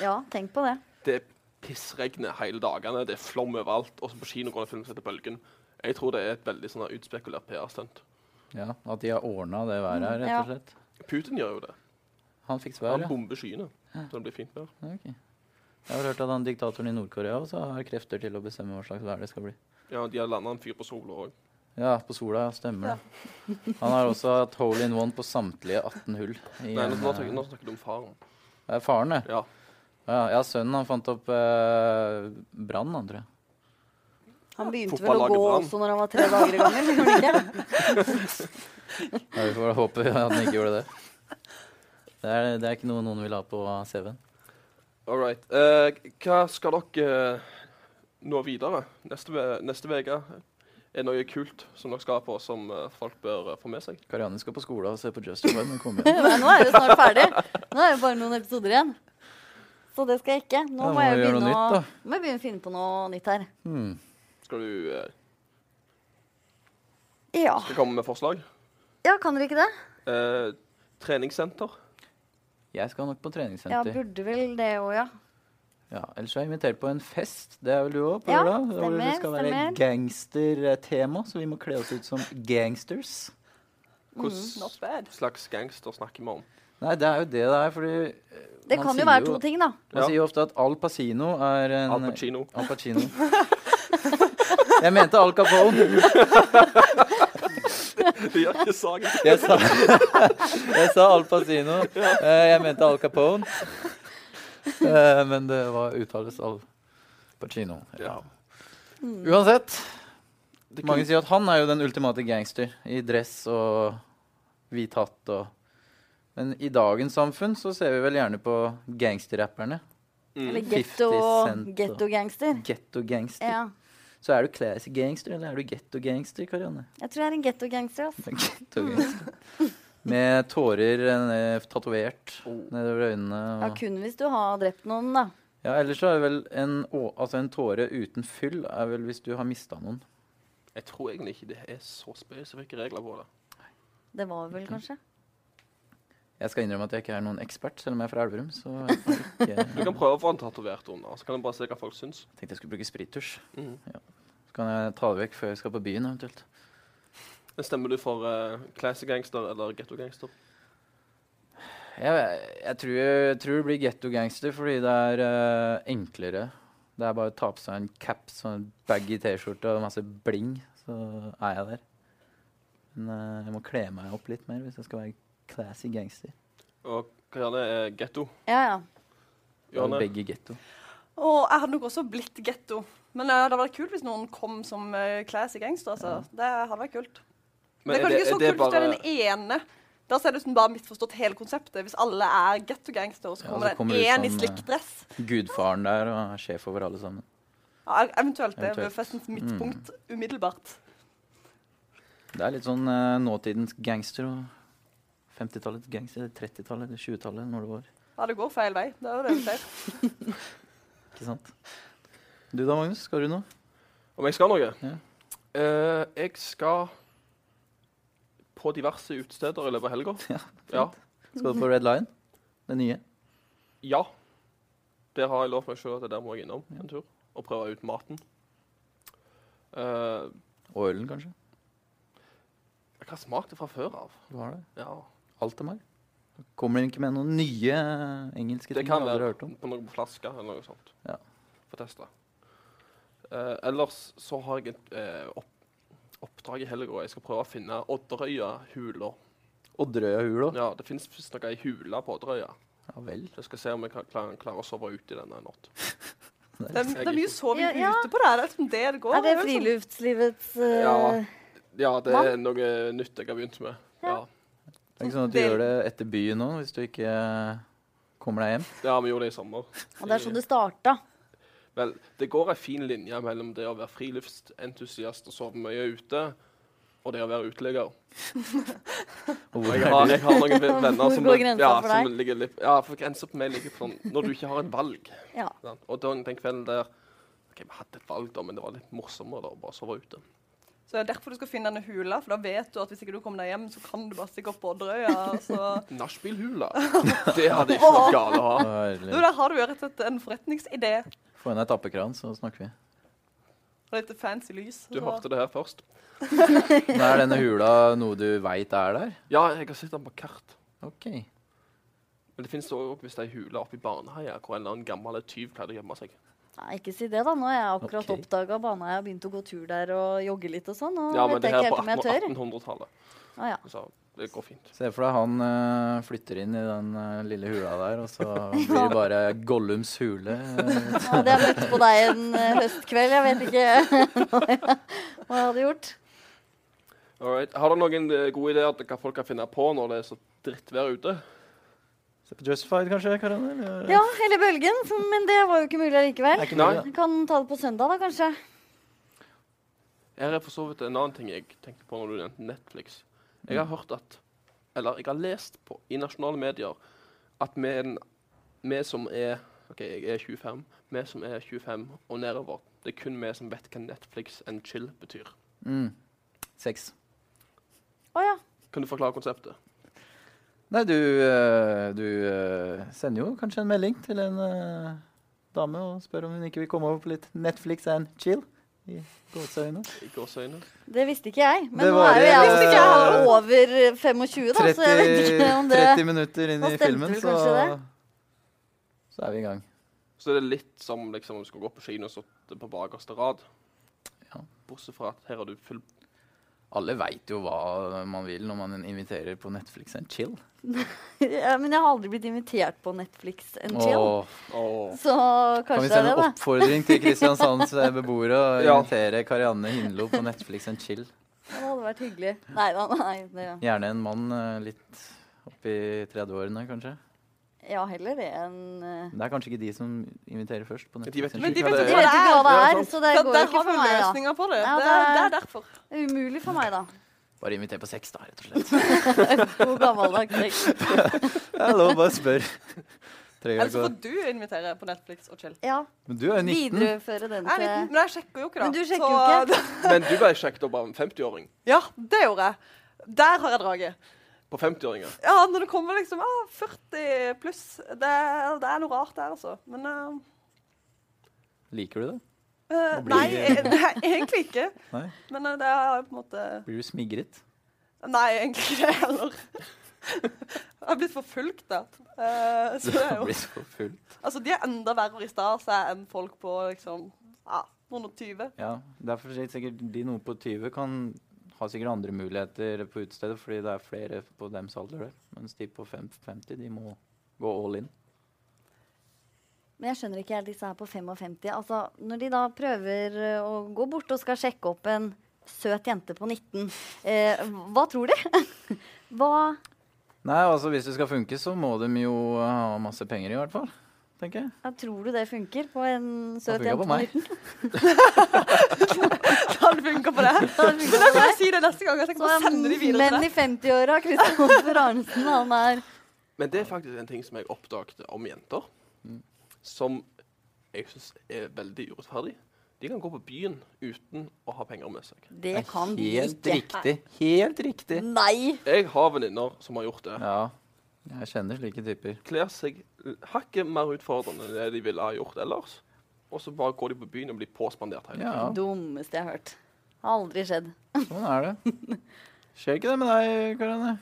Ja, tenk på det.
Det pissregner hele dagene, det er flom overalt, og så på kino går det film som heter Bølgen. Jeg tror det er et veldig sånn her utspekulert PR-stunt.
Ja, At de har ordna det været her, rett
Mm, Ja.
og slett.
Putin gjør jo det.
Han fikk
Han
svar, ja.
bomber skyene, så det blir fint vær.
Ok. Jeg har hørt at han diktatoren i Nord-Korea også har krefter til å bestemme hva slags vær det skal bli.
Ja, de har landa en fyr på sola òg.
Ja, på sola, ja. Stemmer det. Han har også hatt hole in one på samtlige 18 hull. i
Nei, nå,
en,
nå, snakker-
eh,
nå snakker du om faren.
det er faren, det.
Ja.
Ja, ja, sønnen han fant opp eh, brann, han, tror jeg.
Han begynte vel å
Fotballaget
gå
brann.
også når han var tre dager i gangen. gjorde han ikke?
Ja, vi får bare håpe at han ikke gjorde det. Det er, det er ikke noe noen vil ha på CV-en.
All right. Eh, hva skal dere eh, nå videre? Neste ve- neste uke er det noe kult som dere skal på, som eh, folk bør eh, få med seg.
Karianne skal på skolen og se på Justified når hun kommer hjem.
Nei, nå er det snart ferdig. Nå er det bare noen episoder igjen. Så det skal jeg ikke. Nå
Ja,
må jeg
vi gjøre
begynne,
noe
å,
nytt,
må jeg begynne å finne på noe nytt her.
da. Hmm.
Skal du eh,
Ja,
skal jeg komme med forslag?
ja kan dere ikke det?
Eh, treningssenter.
Jeg skal nok på
Ja,
treningssenter.
burde vel det òg, ja.
Ja, ellers er jeg invitert på en fest. Det er vel du òg? på
Ja,
lørdag? Hvor det
stemmer,
skal være
stemmer.
gangstertema, så vi må kle oss ut som gangsters.
Not
Hvilken
bad.
slags gangster snakker vi om?
Nei, det er jo det det er, fordi eh,
Det
man
kan
sier
jo være to ting, da.
Man
Ja.
sier jo ofte at Al Pacino er en
Al Pacino.
Al Pacino. Jeg mente Al Capone.
Det gjør ikke saken.
Jeg sa, jeg sa Al Pacino. Eh, Jeg mente Al Capone. Eh, Men det var uttales Al Pacino.
Ja.
Mm. Uansett.
Det
Mange
kunne,
sier at han er jo den ultimate gangster i dress og hvit hatt og Men i dagens samfunn så ser vi vel gjerne på gangsterrapperne.
Mm.
Mm. Eller
50 Cent,
getto-gangster.
Getto-gangster.
Ja.
Så er du classy gangster, eller er du getto-gangster, Karianne?
Jeg tror jeg er en getto-gangster. ass. Mm.
Getto-gangster. Med tårer eh, tatovert
Oh,
nedover øynene.
Ja,
Og...
kun hvis du har drept noen, da.
Ja, ellers så er det vel en, å, altså en tåre uten fyll er vel hvis du har mista noen.
jeg tror egentlig ikke det er så spesifikke regler på det.
Det var vel kanskje.
Jeg skal innrømme at jeg ikke er noen ekspert, selv om jeg er fra Elverum. Så jeg, har ikke...
Du kan prøve å få den tatovert under, så kan du bare se hva folk syns.
tenkte jeg skulle bruke sprittusj.
Mhm.
Ja. Så kan jeg ta det vekk før jeg skal på byen, eventuelt.
Men Stemmer du for eh, classy gangster eller ghetto gangster?
Jeg, jeg, tror, jeg tror det blir getto gangster fordi det er eh, enklere. Det er bare å ta på seg en caps og en baggy T-skjorte og masse bling, så er jeg der. Men eh, jeg må kle meg opp litt mer hvis jeg skal være classy gangster.
Og hva gjerne er ghetto?
Ja, ja.
Det er jo
Johanne?
Begge getto.
Og jeg hadde nok også blitt getto. Men eh, det hadde vært kult hvis noen kom som eh, classy gangster. Altså. Det hadde vært kult.
Men
det er
er
kanskje ikke så
er
kult hvis du er den ene. Da ser det ut som du har misforstått hele konseptet. Hvis alle er getto-gangster, og så
Ja,
kommer
så kommer
det
du
en én i
som, eh,
slik dress.
Gudfaren der og er sjef over alle sammen.
Ja, eventuelt det
eventuelt.
ved festens midtpunkt umiddelbart.
Det er litt sånn eh, nåtidens gangster og 50-tallet, gangster, 30-tallet, eller 20-tallet, når det var.
Ja, det går feil vei. Det er jo det vi ser.
Ikke sant? Du da, Magnus? Skal du noe?
Om jeg skal noe?
Ja.
Eh, jeg skal på diverse utesteder i løpet av helga.
Ja,
ja.
Skal du på Red Lion? Det nye?
Ja. Der har jeg lovt meg sjøl at det der må jeg innom en tur og prøve ut maten. Eh,
Og ølen, kanskje?
jeg har smakt det fra før av.
Du har det?
Ja,
Alt er meg. Kommer de ikke med noen nye eh, engelske
Det
ting
kan
jeg aldri
være
har hørt om?
på noen flasker eller noe sånt.
Ja.
Få teste. Eh, ellers så har jeg et eh, opp, oppdrag i helga. Jeg skal prøve å finne Odderøya-hula.
Odderøya hul òg?
Ja, det fins visstnok ei hule på Odderøya.
Ja vel.
Så jeg skal se om jeg kan klare, klarer å sove ute i den en natt.
Det er, det er mye soving
Ja, ja.
ute på det. her. Det er liksom det det går.
Er det
jo sånn-
friluftslivets eh,
Ja. Ja, det er
Hva?
noe nytt jeg har begynt med. Ja,
Det er ikke sånn at du
Vel-
gjør det etter byen nå, hvis du ikke eh, kommer deg hjem?
ja vi gjorde det i sommer.
Og det er sånn det starta.
Vel, det går ei fin linje mellom det å være friluftsentusiast og sove mye ute, og det å være uteligger.
Og
Og
hvor
Jeg
er
har,
du?
jeg har noen ve- venner som,
Hvor går grensa
ja,
for deg?
som ligger litt Ja, for grensa på meg ligger på sånn Når du ikke har et valg.
Ja.
sant? Og den, den kvelden der OK, vi hadde et valg, da, men det var litt morsommere da, å bare sove ute.
Så det er derfor du skal finne denne hula, for da vet du at hvis ikke du kommer deg hjem, så kan du bare stikke opp på altså. Odderøya. og Så...
Nachspielhula. Det hadde ikke vært galt å ha.
Du,
Herlig.
der har du jo rett og slett en forretningsidé
Få inn et tappekran, så snakker vi.
og litt fancy lys.
Du
så-
hørte det her først.
Men er denne hula noe du veit er der?
Ja, jeg har sett den på kart.
OK.
Men det finnes òg hvis det er ei hule oppe i Baneheia hvor en eller annen gammel tyv pleide å gjemme seg.
Nei, ikke si det, da. Nå har jeg akkurat
Ok.
oppdaget oppdaga bana. Jeg har begynt å gå tur der og jogge litt og sånn. Og
Ja, men
vet
det
jeg
her er
ikke
på
helt om jeg tør.
1800-tallet,
Å, ja.
så det går fint.
Se for deg han eh, flytter inn i den eh, lille hula der, og så blir det bare Gollums hule. eh,
Nå hadde jeg møtt på deg en eh, høstkveld. Jeg vet ikke hva jeg hadde gjort.
Alright. Har du noen eh, gode ideer til hva folk kan finne på når det er så drittvær ute?
Se på Justified, kanskje, Karan? eller?
Ja, eller bølgen. for- Men det var jo ikke mulig allikevel.
Er ikke mulig,
Nei.
da.
Vi kan ta det på søndag, da, kanskje.
Her er for så vidt en annen ting jeg tenkte på når du nevnte Netflix. Jeg
Mm.
har hørt at Eller jeg har lest på, i nasjonale medier at vi, er den- vi som er OK, jeg er 25. Vi som er 25 og nedover. Det er kun vi som vet hva Netflix and chill betyr.
Mm. Sex.
Å ja.
Kan du forklare konseptet?
Nei, du, eh, du eh, sender jo kanskje en melding til en eh, dame og spør om hun ikke vil komme over på litt Netflix and chill. I gåseøyne.
I gåseøyne.
Det visste ikke jeg. Men
Det
nå
var,
er jo jeg
eh,
også over 25, da, så jeg vet ikke
30,
om det
30 minutter inn
Da
i
stemte
filmen,
vel
så,
kanskje
så er vi i gang.
Så det er litt som liksom, om du skulle gå på kino og sitte på bakerste rad.
Ja.
Bortsett fra at her har du full
Alle veit jo hva man vil når man inviterer på Netflix and chill.
ja, Men jeg har aldri blitt invitert på Netflix and chill.
Åh,
Åh.
Så
kan vi
kanskje det er
sende en
det, da.
oppfordring til Kristiansands eh, beboere og
Ja.
invitere Karianne Hindlo på Netflix and chill?
Det hadde vært hyggelig. Nei da, nei. Det,
Gjerne en mann eh, litt oppi 30-årene, kanskje.
ja, heller det enn eh,
Det er kanskje ikke de som inviterer først. på
De vet
Netflix.
ikke
Men de
hva
vet
det
De
er.
vet ikke hva det
Ja,
er,
sant.
så det
Ja,
går
der
ikke
har vi
for meg, da.
løsninger på det.
Ja,
det,
det
er,
er-
det er derfor.
Det er Umulig for meg, da.
Bare inviter på sex, da, rett og slett.
God gammeldags sex.
Ja, lov, bare spør. Trenger
Ellers
ikke
så får
å-
du invitere på Netflix og chill.
Ja,
Men du er jo 19.
videreføre den
Jeg er liten,
til
men jeg sjekker jo ikke, da.
Men du sjekker jo ikke.
Men du ble sjekket opp av en 50-åring.
Ja, det gjorde jeg. Der har jeg draget.
På 50-åringer.
Ja, når det kommer liksom ah, 40 pluss det, er- det er noe rart der, altså. Men
Liker du det?
eh, eh,
Nå blir
Nei,
det-
eh, nei, egentlig ikke.
Nei?
Men eh, det er på en måte
Blir du smigret?
Nei, egentlig ikke det heller. Jeg har blitt forfulgt, da. Eh, så
Du
det er jo
blir så full.
Altså, de er enda verre i stas enn folk på liksom ja, noen og tyve.
Ja, derfor sier sikkert de noe på 20 kan ha sikkert andre muligheter på utestedet, fordi det er flere på dems alder der. Mens de på fem- 50, de må gå all in.
Men jeg skjønner ikke helt disse her på 55. Altså, når de da prøver eh, å gå bort og skal sjekke opp en søt jente på 19, eh, hva tror de? hva
Nei, altså hvis det skal funke, så må de jo ha masse penger i hvert fall. tenker jeg.
Ja, tror du det funker på en søt
funker
jente
på
på
meg.
19?
Kan det funke på det?
Det funker
Da
på
kan
meg.
jeg si det neste gang. Jeg tenker
Så
bare
er
sende de videre
menn
til deg.
i 50-åra, Kristoffer Arnesen, han er
Men det er faktisk en ting som jeg oppdaget om jenter, som jeg syns er veldig urettferdig. De kan gå på byen uten å ha penger med seg.
Det kan de
helt
ikke.
riktig. Helt riktig.
Nei!
Jeg har venninner som har gjort det.
Ja. Jeg kjenner slike typer.
Kler seg l- hakket mer utfordrende enn det de ville ha gjort ellers. Og så bare går de på byen og blir påspandert hele
Ja,
Dummeste jeg har hørt. Har aldri skjedd.
sånn er det. Skjer ikke det med deg, Karianne?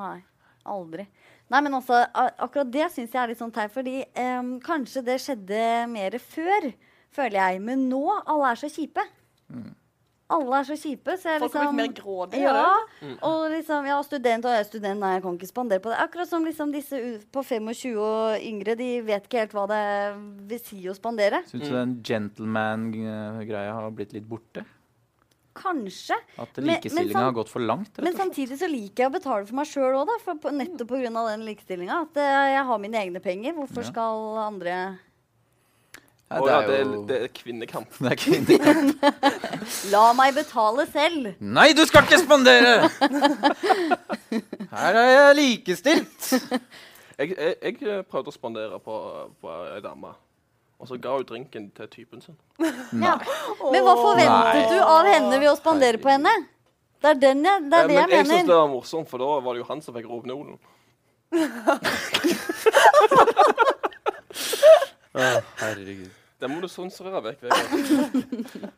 Nei, aldri. Nei, men altså, a- akkurat det syns jeg er litt sånn teit, fordi em, kanskje det skjedde mer før, føler jeg. Men nå, alle er så kjipe. Alle er så kjipe, så jeg
Mm. Folk har blitt
liksom
mer grådige.
ja,
eller?
og liksom, ja, student og jeg er student, nei, jeg kan ikke spandere på det. Akkurat som liksom disse u- på 25 og yngre, de vet ikke helt hva det vil si å spandere.
Syns du den gentleman-greia har blitt litt borte?
Kanskje.
At
Men- men
likestillinga
sam-
har gått for langt?
Men
Rett og slett?
samtidig så liker jeg å betale for meg sjøl òg, da. For på, nettopp pga. den likestillinga. At eh, jeg har mine egne penger.
Ja.
Hvorfor skal andre sånn-
Å ja, det, er, det er kvinnekamp.
det er kvinner.
La meg betale selv!
Nei, du skal ikke spandere! Her er jeg likestilt!
Jeg, jeg, jeg eh, prøvde å spandere på, på ei dame, og så ga hun drinken til typen sin.
Ja. Men hva forventet
Nei.
du av henne ved å spandere på henne? Det er, den jeg, det,
Eh,
er det
Men
jeg,
jeg syns det
mener.
var morsomt, for da var det jo han som fikk rovnolen.
herregud.
Den må du sensurere vekk. Vegard.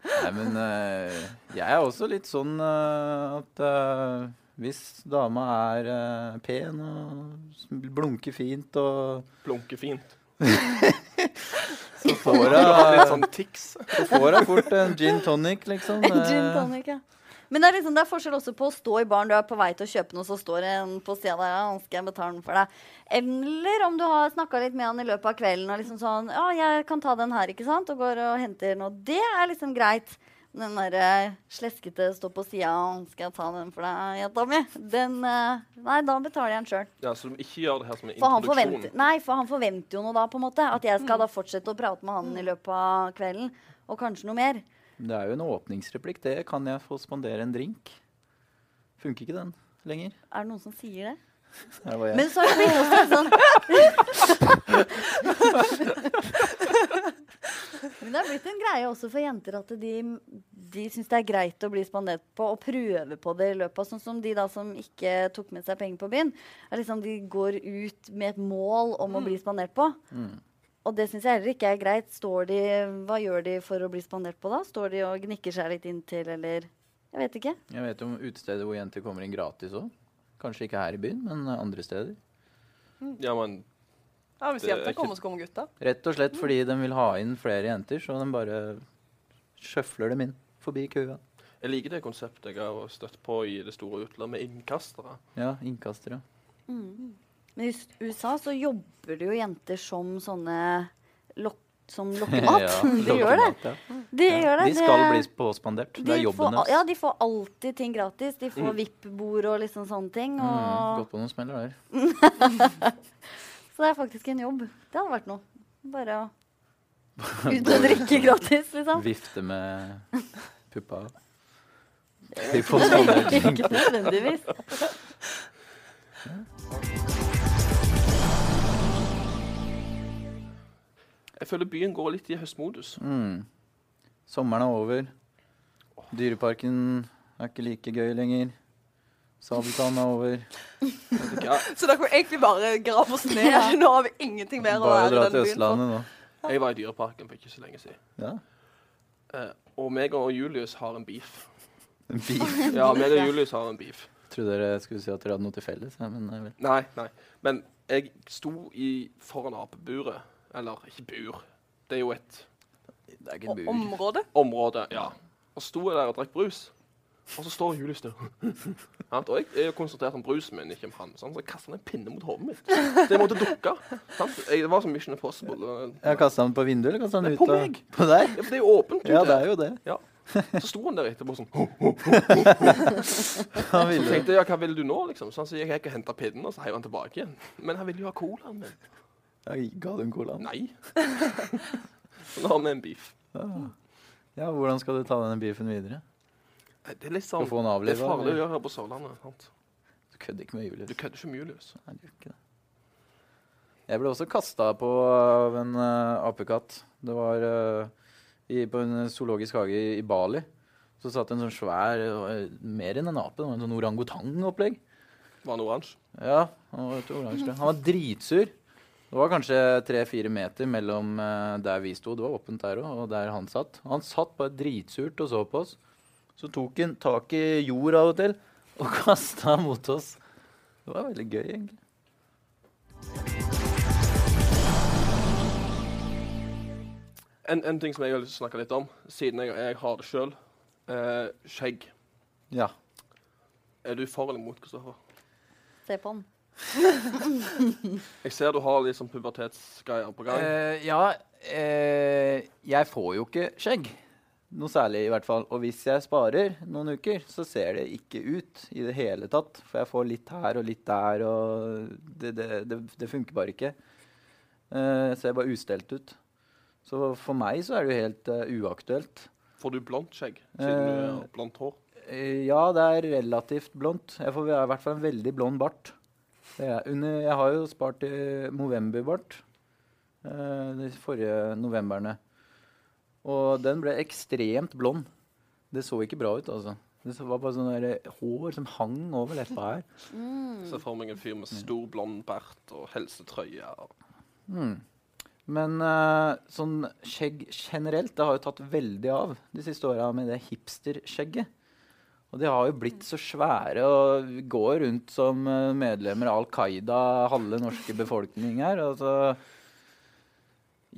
Nei, men eh, jeg er også litt sånn eh, at eh, hvis dama er eh, pen og s- blunker fint og
Blunke fint.
Så får
Det var litt
hun
sånn tics.
fort en gin tonic, liksom.
En gin tonic, ja. Men det er, liksom, det er forskjell også på å stå i baren. Du er på vei til å kjøpe noe, så står en på sida der. Ja, skal jeg betale den for deg? Eller om du har snakka litt med han i løpet av kvelden og liksom sånn Ja, jeg kan ta den her, ikke sant? Og går og henter noe. Det er liksom greit. Den derre sleskete stå på sida og skal jeg ta den for deg, jenta mi? Den eh, Nei, da betaler jeg den sjøl.
Ja, så du ikke gjør det her som en
For han,
introduksjon.
forventer, nei, for han forventer jo noe da, på en måte. At jeg skal da fortsette å prate med han i løpet av kvelden. Og kanskje noe mer.
Det er jo en åpningsreplikk. Det kan jeg få spandere en drink. Funker ikke den lenger.
Er det noen som sier det?
Det var jeg.
Men så er det blitt også sånn- litt sånn Men det er blitt en greie også for jenter at de, de syns det er greit å bli spandert på og prøve på det i løpet av Sånn som de da som ikke tok med seg penger på byen. Er liksom de går ut med et mål om å bli spandert på.
Mm.
Og det syns jeg heller ikke er greit. Står de, hva gjør de for å bli spandert på da? Står de og gnikker seg litt inntil, eller Jeg vet ikke.
Jeg vet om utesteder hvor jenter kommer inn gratis òg. Kanskje ikke her i byen, men andre steder.
Ja, men
Ja, Hvis
Det er
jenter
ikke-
kommer, så kommer gutta.
Rett og slett fordi de vil ha inn flere jenter, så de bare sjøfler dem inn forbi køa.
jeg liker det konseptet jeg har støtt på i det store utlandet, med innkastere.
Ja, innkastere.
Men i s- USA så jobber det jo jenter som sånne lok som lokkemat.
Ja,
de gjør det.
lokkemat, ja.
De
Ja,
gjør det.
De skal
Det-
bli påspandert. Det er
de får,
jobben
al- Ja,
deres.
de får alltid ting gratis. De får VIP-bord og liksom sånne ting.
Mm,
Og,
Gått på noen smeller der.
så det er faktisk en jobb. Det hadde vært noe. Bare å ut og drikke gratis, liksom.
Vifte med puppa. De får spandert.
Ikke nødvendigvis.
Jeg føler byen går litt i høstmodus.
Mm. Sommeren er over. Dyreparken er ikke like gøy lenger. Sabeltann er over.
Ja,
Så da kan vi egentlig bare grave oss ned.
Ja.
Nå har vi ingenting mer å
Bare å dra til
være i den byen for.
Østlandet nå.
jeg var i Dyreparken for ikke så lenge siden.
Ja.
Eh, og meg og Julius har en beef.
En bil.
Ja, meg og Julius har en beef.
Trodde dere skulle si at dere hadde noe til felles, ja, men nei vel.
Nei, nei. Men jeg sto i foran apeburet. Eller ikke bur. Det er jo et
Det er ikke
O- Området.
område. Ja. Og sto jeg der og drakk brus. Og så står Julius der. Sant? og jeg er jo konsentrert om brusen min, ikke om han. sant? Så jeg kastet han en pinne mot hodet mitt. Så jeg måtte dukke. sant? Jeg, det var som Mission Impossible.
Jeg kasta den på vinduet, eller kasta den
Nei,
ut?
på
av-
meg.
På deg?
Ja, for det er jo åpent.
Ja,
ute.
det er jo det.
Ja. Så sto han der etterpå sånn.
Han
Så
ville.
tenkte jeg, ja, hva vil du nå, liksom? Så han sier, jeg gikk og hentet pinnen, og så heiv han tilbake igjen. Men han ville jo ha colaen min.
Jeg ga du en colaen?
Nei. Så nå har vi en beef.
Ja. ja, hvordan skal du ta denne beefen videre?
Nei, Det er litt
Skal
sånn
du få den
Det er
avliva?
farlig å
eller?
gjøre her på Sørlandet. sant?
Du kødder ikke med
Du
Julius.
kødder ikke mye løs.
Nei, du gjør ikke det. Jeg ble også kasta på av en eh, apekatt. Det var eh, i, på en zoologisk hage i, i Bali. Så satt en sånn svær det var Mer enn en ape. Det var en sånn orangutang-opplegg.
Var han oransje?
Ja, han var, et oransje. han var dritsur. Det var kanskje tre-fire meter mellom eh, der vi sto, det var åpent der òg, og der han satt. Han satt bare dritsurt og så på oss. Så tok han tak i jord av og til og kasta mot oss. Det var veldig gøy, egentlig.
En, en ting som jeg har lyst til å snakke litt om, siden jeg, jeg har det sjøl. Eh, skjegg.
Ja.
Er du for eller mot, Kristoffer?
Se på den.
Jeg ser du har liksom pubertetsgreier på gang.
Eh, ja, eh, jeg får jo ikke skjegg. Noe særlig, i hvert fall. Og hvis jeg sparer noen uker, så ser det ikke ut i det hele tatt. For jeg får litt her og litt der, og det, det, det, det funker bare ikke. Eh, jeg ser bare ustelt ut. Så for meg så er det jo helt eh, uaktuelt.
Får du blondt skjegg siden du
Eh.
har blondt hår?
Eh, Ja, det er relativt blondt. Jeg får i hvert fall en veldig blond bart. Det er under, jeg har jo spart til Movember-bart eh, de forrige novemberne. Og den ble ekstremt blond. Det så ikke bra ut, altså. Det så- var bare sånn der hår som hang over leppa her. hmm.
Ser for meg en fyr med stor blond bart og helsetrøye. og-
Mm. Men eh, sånn skjegg generelt, det har jo tatt veldig av de siste åra med det hipsterskjegget. Og de har jo blitt så svære og går rundt som eh, medlemmer av Al Qaida, halve norske befolkning her. Altså,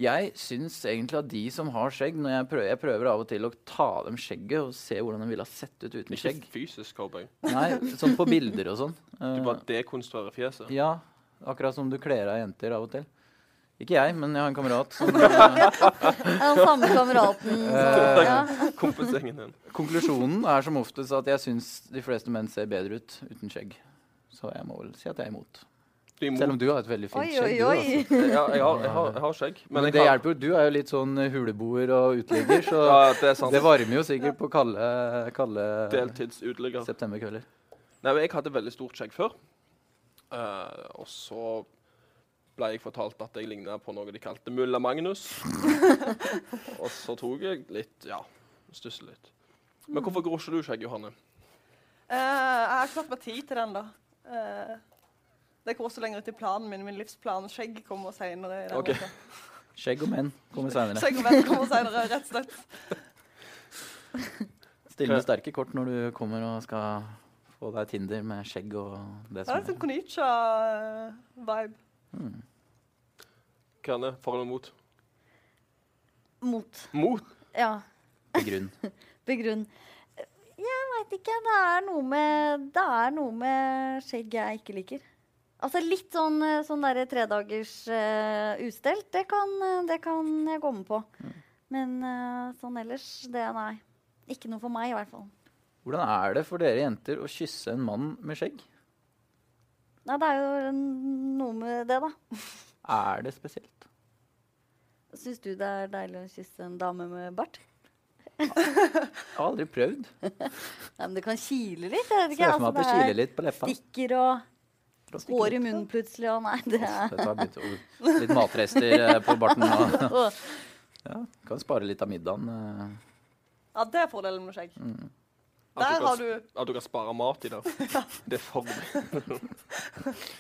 jeg syns egentlig at de som har skjegg når jeg prøver, jeg prøver av og til å ta av dem skjegget og se hvordan de ville ha sett ut uten
Ikke
skjegg.
fysisk cowboy.
Nei, sånn på bilder og sånn.
Du
Eh,
bare dekonstruerer fjeset.
ja, akkurat som du kler av jenter av og til. Ikke jeg, men jeg har en kamerat. Som, eh,
Den samme kameraten. som-
Eh.
Ja.
Kompisgjengen din.
konklusjonen er som oftest at jeg syns de fleste menn ser bedre ut uten skjegg. Så jeg må vel si at jeg er imot.
Du er imot.
Selv om du har et veldig fint
Oi,
skjegg.
oi,
Du, altså.
oi.
Ja, jeg har, jeg har, jeg har skjegg.
Men,
jeg
det
har-
hjelper jo. Du er jo litt sånn huleboer og uteligger, så
Ja, det er sant.
det varmer jo sikkert på kalde, kalde
Deltidsuteligger.
septemberkvelder.
Nei, men jeg hadde veldig stort skjegg før. Eh, og så ble jeg fortalt at jeg ligna på noe de kalte mulla Magnus. og så tok jeg litt Ja, stussa litt. Men hvorfor gror ikke du skjegg, Johanne?
Eh, jeg har ikke tatt meg tid til den, da. Eh, det går også lenger ut i planen min. Min livsplan skjegg kommer seinere.
Ok.
Skjegg og menn kommer seinere.
Skjegg og venn kommer senere, rett og slett.
Still med sterke kort når du kommer og skal få deg Tinder med skjegg og det
Det er
som
litt sånn Konnicha-vibe.
Mm.
Kerne, for eller mot?
Mot.
Mot?
Ja.
er grunn.
Begrunn. Jeg veit ikke. Det er noe med Det er noe med skjegg jeg ikke liker. Altså litt sånn, eh, sånn derre tredagers eh, ustelt, det kan, eh, det kan jeg gå med på.
Mm.
Men eh, sånn ellers, det nei. Ikke noe for meg, i hvert fall.
Hvordan er det for dere jenter å kysse en mann med skjegg?
Nei, det er jo en- noe med det, da.
Er det spesielt?
Syns du det er deilig å kysse en dame med bart?
Jeg har aldri prøvd.
Nei, men det kan kile litt. Jeg vet
Ser
ikke. altså,
for meg at det kiler litt på leppa.
stikker og
Stikker
hår i
litt.
munnen plutselig, og nei, det
Uff,
er
Dette har begynt å Litt matrester eh, på barten. Og, ja, kan spare litt av middagen. eh.
Ja, det er fordelen med
Mm.
skjegg.
At
Der
du,
har
kan,
du
at du kan spare mat i det. Det er for meg.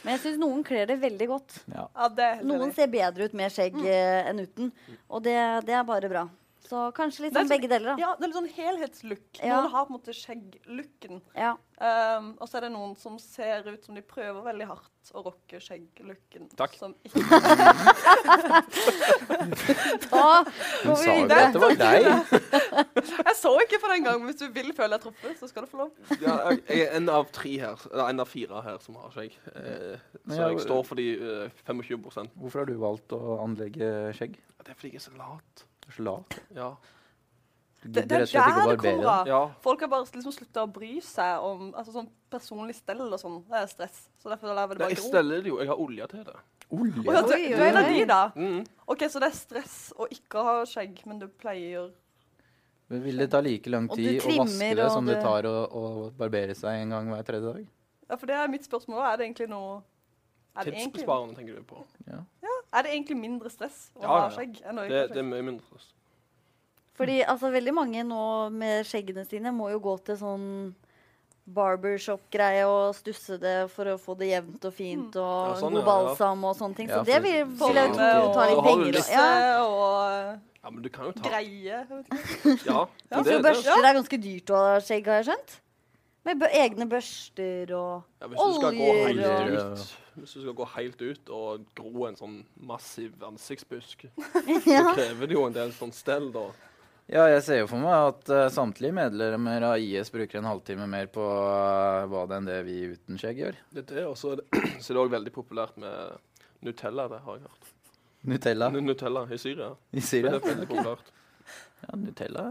Men jeg syns noen kler det veldig godt.
Ja.
Ja, det er helt
Noen
enig.
ser bedre ut med skjegg eh, enn uten, og det, det er bare bra. Så kanskje litt
Det er
sånn
sånn-
begge deler, da.
Ja, det er litt sånn helhetslook.
Ja.
Noen har på en måte skjegglooken.
Ja.
Um, og så er det noen som ser ut som de prøver veldig hardt å rocke skjegglooken.
Takk.
Som ikke
Da
Hun
går vi
sa jo
videre.
at det var deg.
Jeg så ikke på den gangen, men hvis du vil føle deg truffet, så skal du få lov.
Ja, jeg jeg er en av tre her, eller en av fire her som har skjegg. Eh,
Men
så
jeg-
jeg står for de eh, 25
Hvorfor har du valgt å anlegge skjegg?
Det er fordi jeg er så lat.
Du er så lat.
Ja.
Det, det
gidder rett
er
og slett ikke å
der det
barbere
kommer
den.
av.
Ja.
Folk har bare liksom slutta å bry seg om altså, sånn personlig stell og sånn. Det er stress. Så derfor lar vi det
Nei,
bare
jeg
gro.
steller det jo. Jeg har olje til det.
Å ja,
Olje?
du,
Oi,
du er en av
oi,
de,
oi.
da.
Mm.
OK, så det er stress å ikke ha skjegg, men du pleier
Vil det ta like lang
Og du
tid å vaske
trimmer,
det
og
som det
du-
tar å, å barbere seg en gang hver tredje dag?
Ja, for det er mitt spørsmål. Er det egentlig noe er det egentlig,
Tidsbesparende tenker du på.
er det egentlig mindre stress å
Ja,
ha
ja, ja.
skjegg enn å
Det,
ikke ha
det er
skjegg?
mye mindre.
Fordi altså, veldig mange nå med skjeggene sine må jo gå til sånn barbershop-greie og stusse det for å få det jevnt og fint og
Ja, sånn, ja,
god
ja.
balsam og sånne ting. Så
Ja,
det
for-
vil, vil jeg jo tro
Forhånd,
og-
tar litt
og har du
penger.
lyst-
og- Ja.
eh, og
Ja, men du kan jo ta
greie. jeg vet ikke.
Ja. men
Jeg
det-
tror
det-
børster er ganske dyrt å ha skjegg, har jeg skjønt. Med bø egne børster og
Ja, hvis, du skal gå
Oljer
helt
og-
ut, hvis du skal gå helt ut og gro en sånn massiv ansiktsbusk, så
ja.
krever det jo en del sånn stell, da.
Ja, jeg ser jo for meg at eh, samtlige medlemmer av IS bruker en halvtime mer på eh, badet enn det vi uten skjegg gjør.
Det er det, og så er det så er det òg veldig populært med Nutella, det har jeg hørt.
Nutella
Nu- Nutella i Syria.
i
Det
Syria.
er veldig populært.
Ja, Nutella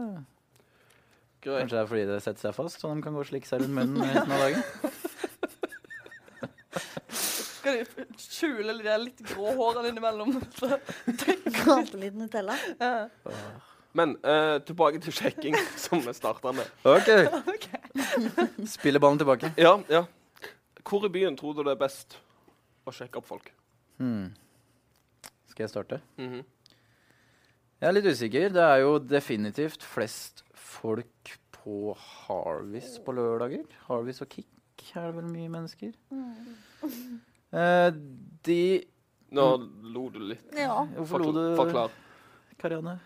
Greit.
Kanskje det er fordi det setter seg fast, så de kan gå og slikke seg rundt munnen resten av dagen.
Skal du f- skjule de der litt grå hårene innimellom? Så,
Kalte litt Nutella.
ja.
Men eh, tilbake til sjekking, som vi starta med.
OK. Spiller ballen tilbake.
Ja, ja. Hvor i byen tror du det er best å sjekke opp folk?
Hmm. Skal jeg starte?
Mhm.
Jeg er litt usikker. Det er jo definitivt flest folk på Harvis på lørdager. Harvis og Kick er det vel mye mennesker. Eh, de
Nå lo du litt.
Ja.
Hvorfor
Forklar.
lo du,
Forklar.
Karianne?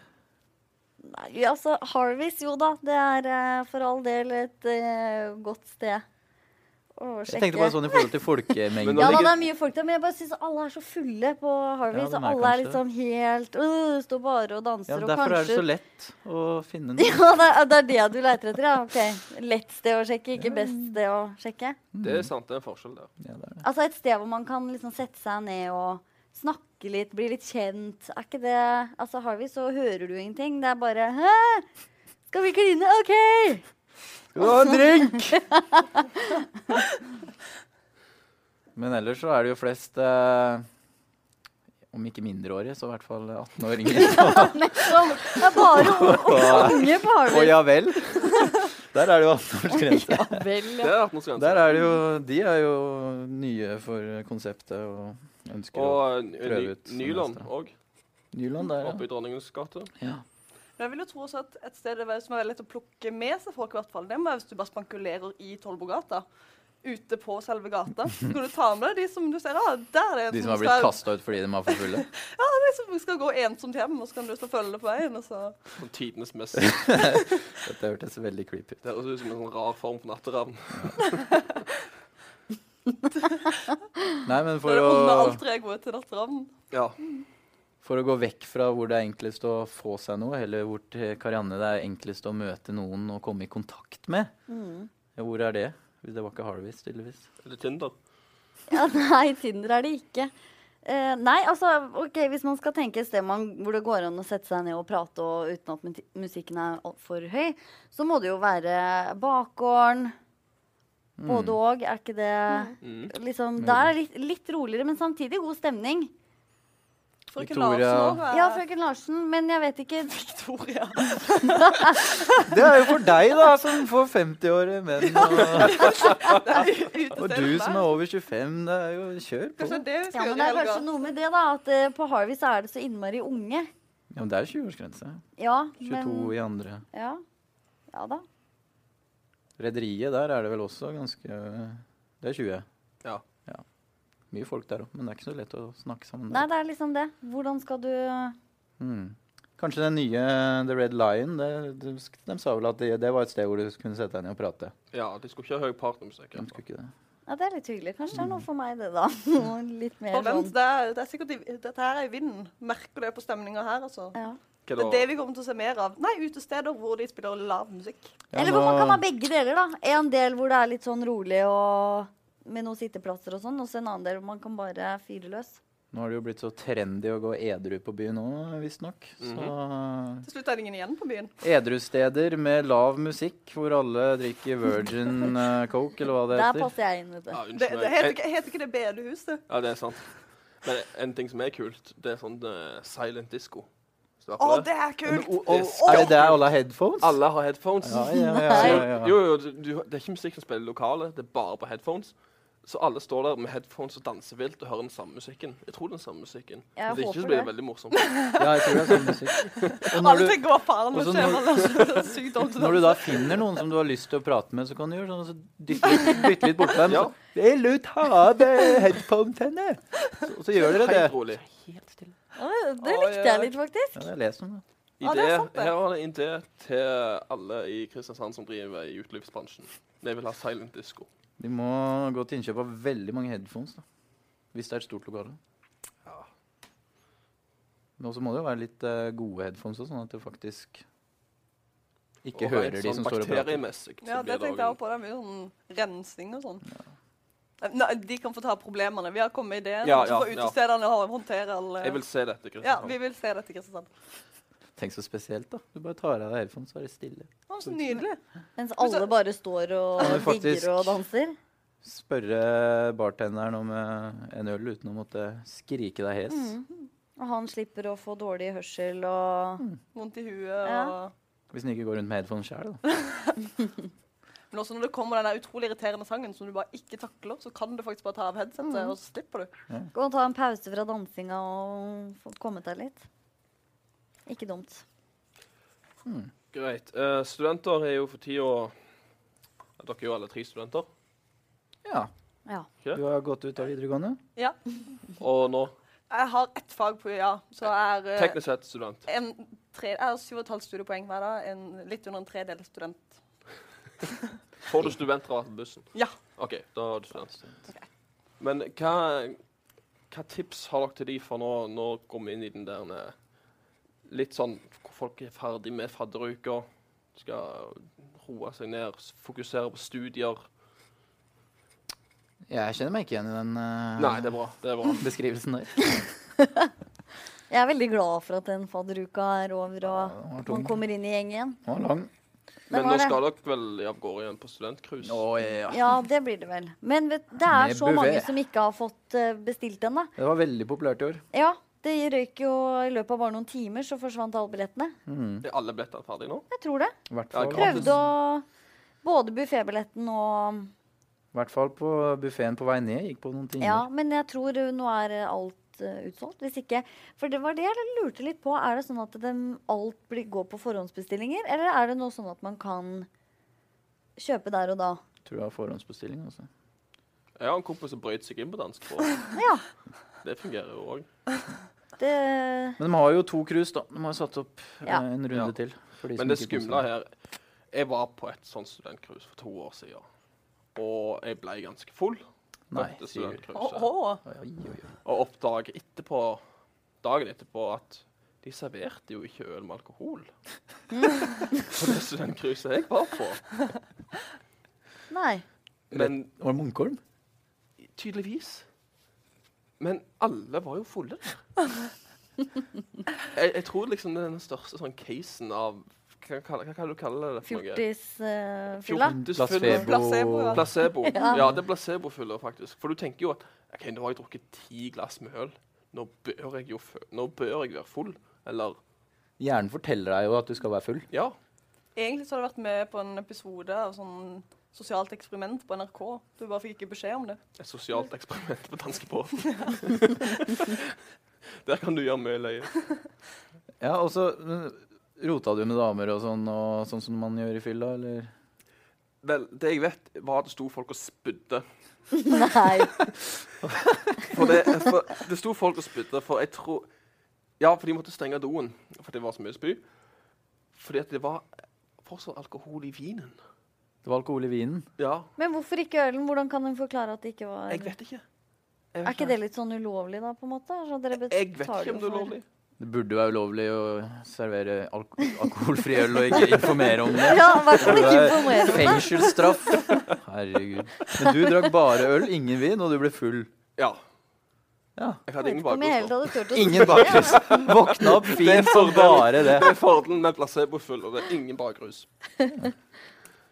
Nei, altså Harvis, jo da. Det er eh, for all del et eh, godt sted å
Jeg
sjekke.
tenkte bare sånn i forhold til
Men
folkemengden.
da-
Ja da,
ligger-
det er mye folk der, men jeg bare syns alle er så fulle på Harvis.
Ja, de
og
er
alle er
kanskje
liksom helt øh, Står bare og danser
Ja,
og
derfor er det
kanskje
så lett å finne noe.
Ja, det er, det er det du leter etter, ja. Ok. Lett sted å sjekke, ikke best sted å sjekke.
Det er
Mm.
sant, det er en forskjell der.
Ja, det er det.
Altså et sted hvor man kan liksom sette seg ned og snakke litt, bli litt kjent. Er ikke det Altså Harvis, så hører du ingenting. Det er bare Hæ? Skal vi kline? OK!
Å, drink! Men ellers så er det jo flest eh, Om ikke mindreårige, så i hvert fall 18-åringer.
Nettopp. Det er bare
Og-
unge på
Å
Harvis.
ja vel. Der er det jo 18-årsgrense.
Ja vel,
Det
ja.
er 18-årsgrense.
Der er det jo De er jo nye for konseptet og ønsker å
Og eh,
prøve ut
Ny-
som
Nyland
neste.
òg,
Nyland der,
oppe i Dronningens gate.
ja.
Men jeg vil jo tro også at et sted det er- som er veldig lett å plukke med seg folk, i hvert fall, det må være hvis du bare spankulerer i Tollbogata. Ute på selve gata. Så kan du ta med deg de som du ser. Ah, der er en
De som har blitt
skal,
kasta ut fordi de var for fulle.
de som skal gå ensomt hjem, og så kan du stå og følge det på veien. Og så.
Sånn tidenes mest
Dette hørtes veldig creepy ut.
Det høres ut som en sånn rar form for natteravn.
Nei, men
det
for
er det onde
å,
alter egoet til natteravn.
Ja.
for å gå vekk fra hvor det er enklest å få seg noe, heller hvor til Karianne det er enklest å møte noen og komme i kontakt med.
Mm.
Ja, hvor er det? Det var ikke Harvest, tydeligvis.
Eller Tinder.
Ja, nei, Tinder er det ikke. Eh, nei, altså, ok, Hvis man skal tenke et sted man, hvor det går an å sette seg ned og prate og, uten at muti- musikken er altfor høy, så må det jo være bakgården.
Mm.
Både òg. Er ikke det
Mm.
liksom, Der er det litt, litt roligere, men samtidig god stemning.
Frøken
Victoria-
Larsen òg.
Ja, frøken Larsen, men jeg vet ikke
Victoria.
Det er jo for deg, da, som får 50-årige menn. Og, og du som er over 25. Det er jo kjør på.
Kanskje det vi
Ja,
skal
men Det er
gjøre i
kanskje
helga.
noe med det, da. At eh, på Harvey så er det så innmari unge.
Ja, men det er 20-årsgrense.
Ja,
22 i andre.
men ja. ja da.
Rederiet der er det vel også ganske Det er 20.
Ja.
Mye folk der òg, men det er ikke så lett å snakke sammen
Nei,
der.
det er liksom det. Hvordan skal du
Mm. Kanskje den nye The Red Lion det, det, De sa vel at det, det var et sted hvor du kunne sette deg ned og prate.
ja, de skulle ikke ha høy partnermusikk.
De skulle ikke det.
Ja, det er litt hyggelig. Kanskje det er noe for meg, det, da. Noe litt mer
Og vent,
sånn.
det er, det er sikkert, i- dette her er i vinden. Merker det på stemninga her, altså.
Ja.
Det er det vi kommer til å se mer av. Nei, utesteder hvor de spiller lav musikk.
Ja,
Eller hvor man
nå-
kan ha begge deler, da. En del hvor det er litt sånn rolig og med noen sitteplasser og sånn, og så en annen del hvor man kan bare fyre løs.
Nå har det jo blitt så trendy å gå edru på byen òg, visstnok.
Mhm.
Så
Til slutt er det ingen igjen på byen.
Edrusteder med lav musikk, hvor alle drikker Virgin eh, Coke, eller hva det
Der
heter.
passer jeg inn, vet du.
Ja,
Det,
unnskyld
det
meg.
heter,
En-
ikke- heter ikke det bedehus, det?
Ja, det er sant. Men en ting som er kult, det er sånn eh, silent disco. Hvis du har
Å,
på
det er kult!
Men,
Å,
å, å,
Er det der alle har headphones?
Alle har headphones.
Ja, ja, ja, ja, ja.
Jo, jo, du, du, det er ikke musikk som spiller i lokalet, det er bare på headphones. Så alle står der med headphones og danser vilt og hører den samme musikken. Jeg tror den samme musikken.
Jeg
Hvis ikke
håper
så blir det
det.
veldig morsomt.
ja, jeg tror det er sånn musikk. Og når
Alle
du,
tenker hva faen
Og
må
så
skje
når-
med alle sykdommer.
når du da finner noen som du har lyst til å prate med, så kan du gjøre sånn, så dytte litt, dytte litt bort på dem.
Ja.
Så, «Vil du ta av deg headphones henne? Så, så gjør dere det.
Helt rolig.
Ja, det- det
Å,
likte
ja.
jeg litt, faktisk.
Ja, jeg leser om det.
Ja, det er
Idé,
sant, det.
her var det en idé til alle i Kristiansand som driver i utelivsbransjen. De vil ha silent disco.
De må gå til innkjøp av veldig mange headphones, da. Hvis det er et stort lokale.
Ja.
Men også må det jo være litt eh, gode headphones, også, sånn at du faktisk ikke
Og
hører
rent
de
sånn
som står og prater.
Bakteriemessig så
Ja, det
blir
tenkte jeg også på. Det er mye sånn rensing og sånn. Nei, de kan få ta problemene. Vi har kommet med ideen.
Ja, ja,
så får utestedene ha- håndtere alle
Jeg vil se sånn. dette,
Ja,
Kristiansand.
vi vil se dette, Kristiansand.
Tenk så spesielt, da. Du bare tar av deg headphones, så er det stille.
Å, så nydelig.
Mens alle bare står og
Ja, men faktisk-
digger og danser.
Spørre bartenderen om eh, en øl uten å måtte skrike deg hes.
Og han slipper å få dårlig hørsel og
Mm.
Vondt i huet
Ja.
og
Hvis den ikke går rundt med headphones sjæl, da.
Men også når det kommer den der utrolig irriterende sangen som du bare ikke takler, så kan du faktisk bare ta av headsetet, og så slipper du.
Gå og ta en pause fra dansinga og få kommet deg litt. Ikke dumt.
Greit. Eh, studenter er jo for tida ja, Dere er jo alle tre studenter.
Ja.
Ja.
Du har gått ut av videregående?
Ja.
Og nå,
Jeg har ett fag på UiA, så jeg er eh,
teknisk sett, student.
en tre, jeg har 7,5 studiepoeng hver dag. En, litt under en tredel student.
Får du studentrabatt på bussen?
Ja.
OK, da er du student. Men hva, hva tips har dere til de for nå, nå går vi inn i den der eh, Litt sånn hvor folk er ferdig med fadderuka, skal roe seg ned, s- fokusere på studier.
Jeg kjenner meg ikke igjen i den eh,
Nei, det er bra. Det er bra.
beskrivelsen der.
Jeg er veldig glad for at den fadderuka er over, og
den var tung.
man kommer inn i gjeng igjen.
Den var lang.
Den
Men
var
nå
det.
skal dere vel av gårde igjen på studentcruise?
Å, ja.
Ja, det blir det vel. Men vet, det er
Med
så mange
buffet.
som ikke har fått eh, bestilt ennå.
Det var veldig populært i år.
Ja, det røyk jo i løpet av bare noen timer, så forsvant alle billettene.
Er alle billettene ferdige nå?
Jeg tror det.
Mm. I hvert
Ja,
fall,
Prøvde å Både buffébilletten og
i hvert fall på buffeen på vei ned gikk på noen timer.
Ja, men jeg tror eh, nå er eh, alt eh, utsolgt. Hvis ikke For det var det jeg lurte litt på. Er det sånn at dem alt blir, går på forhåndsbestillinger, eller er det nå sånn at man kan kjøpe der og da?
Tror jeg har forhåndsbestilling, altså.
Jeg har en kompis som brøt seg inn på dansk språk.
Ja.
Det fungerer jo òg.
Det
Men de har jo to cruise, da. De har jo satt opp eh,
Ja.
en runde
Ja.
til. for de som
Men det
ikke kom seg.
skumle her Jeg var på et sånt studentcruise for to år siden. Og jeg ble ganske full.
Nei,
dette
sier du.
Å,
studentcruiset. å.
Oi, oi, oi.
Og oppdager etterpå, dagen etterpå, at de serverte jo ikke øl med alkohol. På det studentcruiset jeg var på.
Nei.
Men
Var det Munkholm?
tydeligvis. Men alle var jo fulle der. Jeg, jeg tror liksom det er den største sånn casen av Hva, hva, hva kan du kalle det? for noe?
Fjortisfylla.
Fjortisfylla.
Placebo, ja.
Placebo.
Ja.
Ja, det er placebofyller, faktisk. For du tenker jo at OK, nå har jeg drukket ti glass med øl. Nå bør jeg jo fø nå bør jeg være full. Eller
Hjernen forteller deg jo at du skal være full.
Ja.
Egentlig så har du vært med på en episode av sånn sosialt eksperiment på NRK. Du bare fikk ikke beskjed om det.
Et sosialt eksperiment på danskebåten. Der kan du gjøre mye løye.
Ja, og så men, rota du med damer og sånn, og sånn som man gjør i fylla, eller?
Vel, det jeg vet, var at det sto folk og spydde.
Nei.
For det, for det sto folk og spydde, for jeg tror Ja, for de måtte stenge doen fordi det var så mye spy. Fordi at det var fortsatt alkohol i vinen.
Det var alkohol i vinen.
Ja,
Men hvorfor ikke ølen? Hvordan kan hun forklare at det ikke var
jeg vet ikke. Jeg
Er ikke det litt sånn ulovlig, da, på en måte? Så dere
Jeg vet
betaler
ikke om
jo
det er
for-
lovlig.
Det burde jo være ulovlig å servere alko alkoholfri øl og ikke informere om det.
Ja, i hvert fall
Det
ikke
er
informere om det.
Fengselsstraff. Herregud. Men du drakk bare øl, ingen vin, og du ble full.
Ja.
Ja.
Jeg
Jeg
hadde
vet
ingen
ikke om jeg helt
bakgrunn. altså.
hadde turt å
Ingen bakrus. Våkna opp
Det er
fint som
fordelen.
bare det.
Det er fordelen med placebofull, og det er ingen bakrus.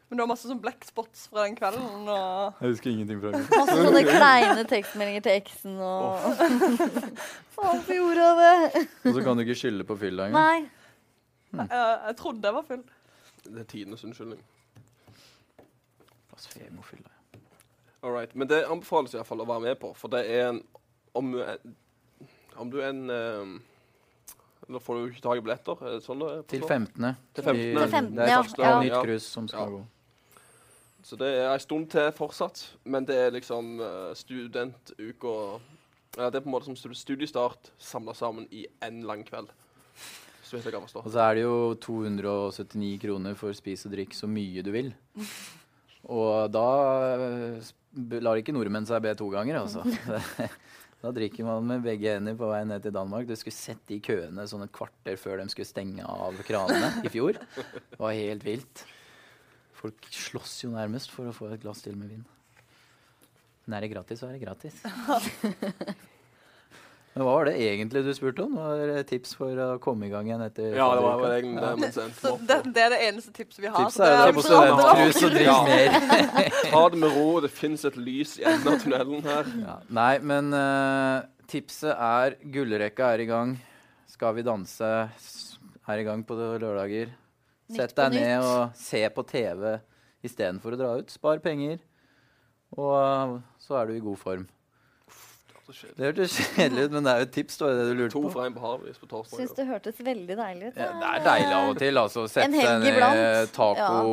Men du har masse sånn black spots fra den kvelden. og...
Jeg husker ingenting fra det.
Masse sånne kleine tekstmeldinger til eksen og Faen, hvorfor gjorde jeg det?
Og så kan du ikke skylde på fylla engang.
Nei.
Jeg, eh, jeg trodde jeg var full.
Det er tidenes unnskyldning.
Blasfemofylla.
All right. Men det anbefales i hvert fall å være med på, for det er en Om, du er- om du er en eh, Da får du jo ikke tak i billetter. Er det sånn det er? på
Til
nå?
15.
Til 15.,
Til 15.,
Det er
ja.
første
Ja.
nytt
Ja.
cruise som skal
Ja.
gå.
Så det er en stund til fortsatt, men det er liksom eh, studentuka ja, Det er på en måte som stud- studiestart samla sammen i én lang kveld. Så vidt jeg har
Og
forstått.
så er det jo 279 kroner for spis og drikk så mye du vil. Og da eh, sp- lar ikke nordmenn seg be to ganger, altså. Da drikker man med begge hender på vei ned til Danmark. Du skulle sett de køene sånn et kvarter før de skulle stenge av kranene i fjor. Det var helt vilt. Folk slåss jo nærmest for å få et glass til med vin. Men er det gratis, så er det gratis. Men hva var det egentlig du spurte om? Var det tips for å komme i gang igjen etter
Ja, det var
fadderuka?
vel egentlig det. Men sent
Så det, det er det eneste tipset vi har.
Tipset
så det liksom sånn
er
er
jo
på
på
for alle.
studentcruise og
studentkrus og
drikk
drikk mer.
ta det med ro. Det fins et lys i enden av tunnelen her.
Ja. Nei, men eh, tipset er gullrekka er i gang. Skal vi danse s- er i gang på lørdager.
Nytt
Sett
på
deg ned
nytt.
og se på TV istedenfor å dra ut. Spar penger, og eh, så er du i god form. Det hørtes kjedelig ut, men det er jo et tips. Det var jo det du lurte
To
på.
fra en på havis på torsdag.
Syns det hørtes veldig deilig ut.
Ja, det er deilig av og til. altså. Sette
helg
seg ned
iblant.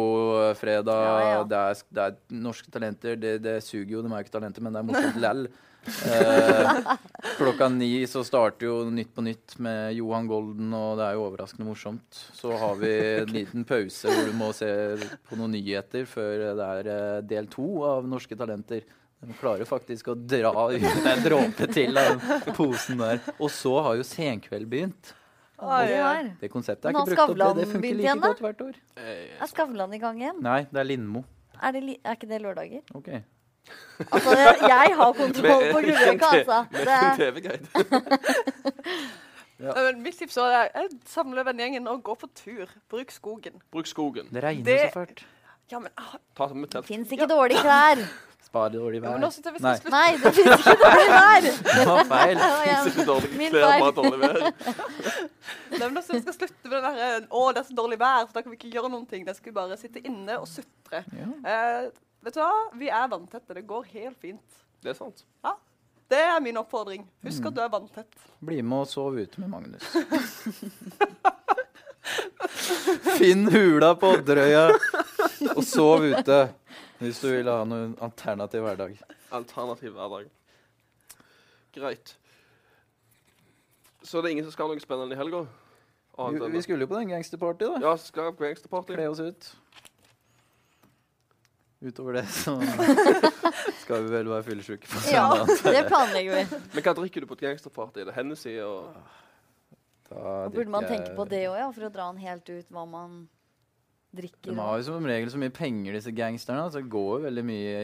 tacofredag.
Ja. Ja, ja.
det, er- det er norske talenter. Det, det suger jo, de er jo ikke talenter, men det er morsomt lell. Eh, klokka ni så starter jo Nytt på nytt med Johan Golden, og det er jo overraskende morsomt. Så har vi en liten pause hvor du må se på noen nyheter før det er eh, del to av Norske talenter. De klarer faktisk å dra ut en dråpe til av den posen der. Og så har jo Senkveld begynt.
Oi,
Det
oi.
her.
Det konseptet er
Men
ikke
har
brukt opp. Det, det funker
Skavlan begynt
like
igjen, da?
godt hvert år.
Eh,
Er Skavlan i gang igjen?
Nei, det er Lindmo.
Er, det li er ikke det lørdager?
Ok.
Altså, det, jeg har kontroll på
Med-
Gullrekka, altså.
Med
Det,
en TV-guide.
Ja, men Mitt tips er jeg samler vennegjengen og går på tur. Bruk skogen.
Bruk skogen.
Det regner
Det-
så fælt.
Ja, men, ah,
Ta med
det
telt.
fins ikke dårlige klær.
Spar dårlig
ja,
vær.
men nå synes jeg vi skal
Nei,
Nei,
slutte.
det fins ikke dårlige klær.
det var feil.
Ja, ja.
Sitter dårlig
Min
klær,
feil.
bare dårlig vær.
Nei, men nå synes jeg vi skal slutte med den der, eh, Å, det er så dårlig vær, så da kan vi ikke gjøre noen ting. Da skal vi bare sitte inne og sutre.
Ja.
Eh, vet du hva? Vi er vanntette. Det går helt fint.
Det er sant.
Det er min oppfordring. Husk at du er vanntett.
Bli med og sov ute med Magnus. Finn hula på Odderøya og sov ute hvis du vil ha noen alternativ hverdag.
Alternativ hverdag. Greit. Så det er ingen som skal ha noe spennende i helga? Annet
Vi,
enn
vi
det.
skulle jo på den gangsterparty, da.
Ja, skal jeg på gangsterparty.
Kle oss ut. Utover det så skal vi vel være fyllesyke på
Ja,
søndag.
det planlegger vi.
Men hva drikker du på et gangsterparty? Er det Hennessy og
Da
Da burde man
drikker jeg-
tenke på det òg, ja, for å dra den helt ut hva man drikker.
De har jo som regel så mye penger, disse gangsterne. Så det går jo veldig mye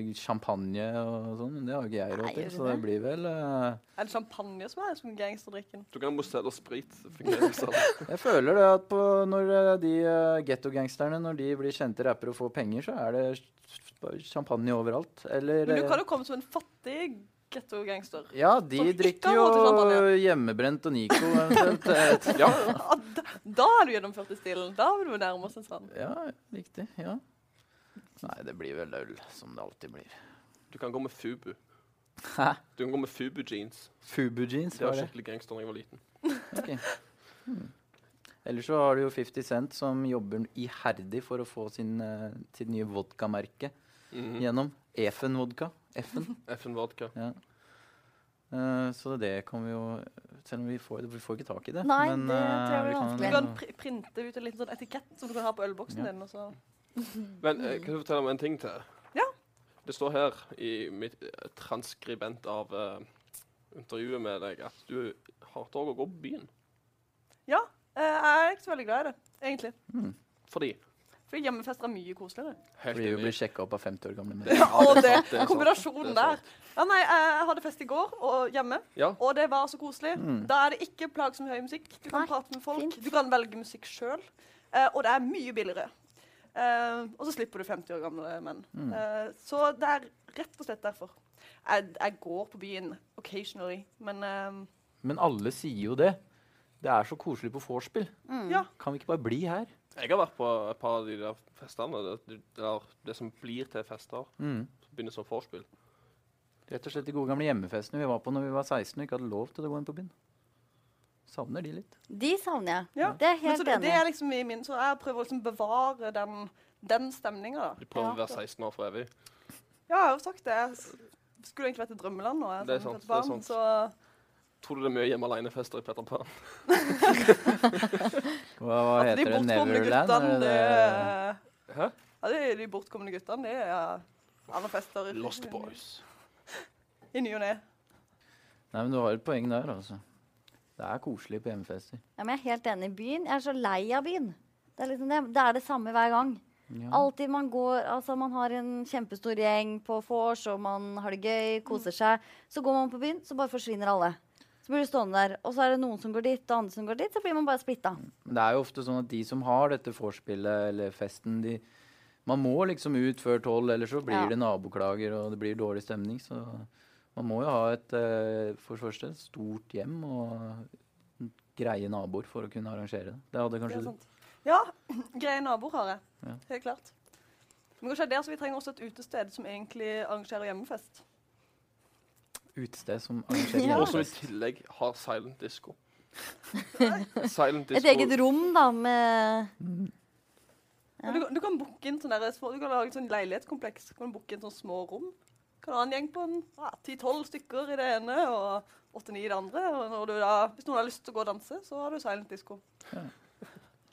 i champagne og sånn. Men det har jo ikke jeg
Nei,
råd til,
gjør
så det
det?
blir vel eh,
Er det champagne som er som gangsterdrikken?
Du kan ha Mozell og sprit. fungerer ikke sant?
Jeg føler det at på, når eh, de eh, ghetto-gangsterne når de blir kjente rappere og får penger, så er det s- bare champagne overalt. Eller
Men du
eh,
kan jo komme som en fattig getto-gangster.
Ja, de
som ikke
drikker
har
jo
råd til champagne.
hjemmebrent og Nico eventuelt. eh,
Ja,
Ah, da, da er du gjennomført i stilen. Da vil du nærme oss en sånn.
Ja, riktig. Ja. Nei, det blir vel øl, som det alltid blir.
du kan gå med Fubu.
Hæ?
Du kan gå med Fubu-jeans.
Fubu-jeans,
Det var
var det?
skikkelig gangster da jeg var liten.
Ok. Hmm. Ellers så har du jo 50 Cent som jobber iherdig for å få sin, eh, sitt nye vodkamerke
Mhm.
gjennom. Efen vodka. Effen.
FN Vodka.
Ja. Eh, så det kan vi jo Selv om vi får, vi får ikke tak i det.
Nei, det tror
eh,
jeg blir
vi kan-
Du
vanskelig.
kan pr printe ut en liten sånn etikett som du kan ha på ølboksen
Ja.
din. og sånn. så...
Men eh, kan du fortelle om en ting til?
Ja.
Det står her i mitt eh, transkribent av eh, intervjuet med deg at du hater også å gå på byen.
Ja, eh, jeg er ikke så veldig glad i det, egentlig.
Fordi
Fordi hjemmefester er mye koseligere.
Helt
Fordi hun
enig.
blir sjekka opp av 50 år gamle menn.
Ja, og det,
sant, det er
kombinasjonen
sant, det er
der. Ja, nei, jeg hadde fest i går og hjemme,
Ja.
og det var så koselig.
Mm.
Da er det ikke plagsom høy musikk. Du kan
Nei,
prate med folk,
fint.
du kan velge musikk sjøl, eh, og det er mye billigere. Eh, og så slipper du 50 år gamle menn.
Mm.
Eh, så det er rett og slett derfor. Jeg, jeg går på byen occasionally, men eh,
Men alle sier jo det. Det er så koselig på vorspiel.
ja.
Kan vi ikke bare bli her?
Jeg har vært på et par av de der festene der, du- der det som blir til fester,
Mm.
begynner som vorspiel.
Rett og slett de gode gamle hjemmefestene vi var på når vi var 16 og ikke hadde lov til å gå inn på byen. Savner de litt.
De savner jeg.
Ja.
Det er jeg
Men så
helt
det,
enig
det
i.
er liksom i min, så jeg prøver å liksom bevare den, den stemninga.
De prøver å
Ja.
være 16 år for evig.
Ja, jeg har jo sagt det. Jeg s- skulle egentlig vært i drømmeland nå. Jeg,
Det er
som
sant,
et
det er
barn,
sant.
Så
Tror du det er mye hjemme alene-fester i Petter Pan?
Hva, hva
altså, de
heter det?
bortkomne
Neverland? Er
guttene, det
det...
Hæ?
Ja, de, de bortkomne guttene, det er alle fester. i-
Lost Boys.
I ny og ne.
Nei, men du har et poeng der, altså. Det er koselig på hjemmefester.
Ja, men jeg er helt enig i byen. Jeg er så lei av byen. Det er, liksom det. det er det samme hver gang.
Ja.
Alltid man går Altså, man har en kjempestor gjeng på vors, og man har det gøy, koser seg. Så går man på byen, så bare forsvinner alle. Så blir du stående der. Og så er det noen som går dit, og andre som går dit. Så blir man bare splitta.
Men det er jo ofte sånn at de som har dette vorspielet eller festen, de Man må liksom ut før tolv, ellers så blir
Ja.
det naboklager og det blir dårlig stemning. Så man må jo ha et eh, for det første et stort hjem og greie naboer for å kunne arrangere det. Det hadde
Det
kanskje
er
du.
sant. Ja, greie naboer har jeg.
Ja.
Helt klart. Men kanskje det er der, så vi trenger også et utested som egentlig arrangerer hjemmefest.
Utested som arrangerer
Ja.
Og som i
hjemmefest.
tillegg har silent disco. silent
Et
disco.
eget rom, da, med Ja.
Men Du, du kan booke inn sånne der små, du kan lage et sånn leilighetskompleks. Du kan booke inn sånne små rom. Du kan ha en gjeng på en, ja, 10-12 stykker i det ene og 8-9 i det andre. Og når du da, hvis noen har lyst til å gå og danse, så har du silent disco.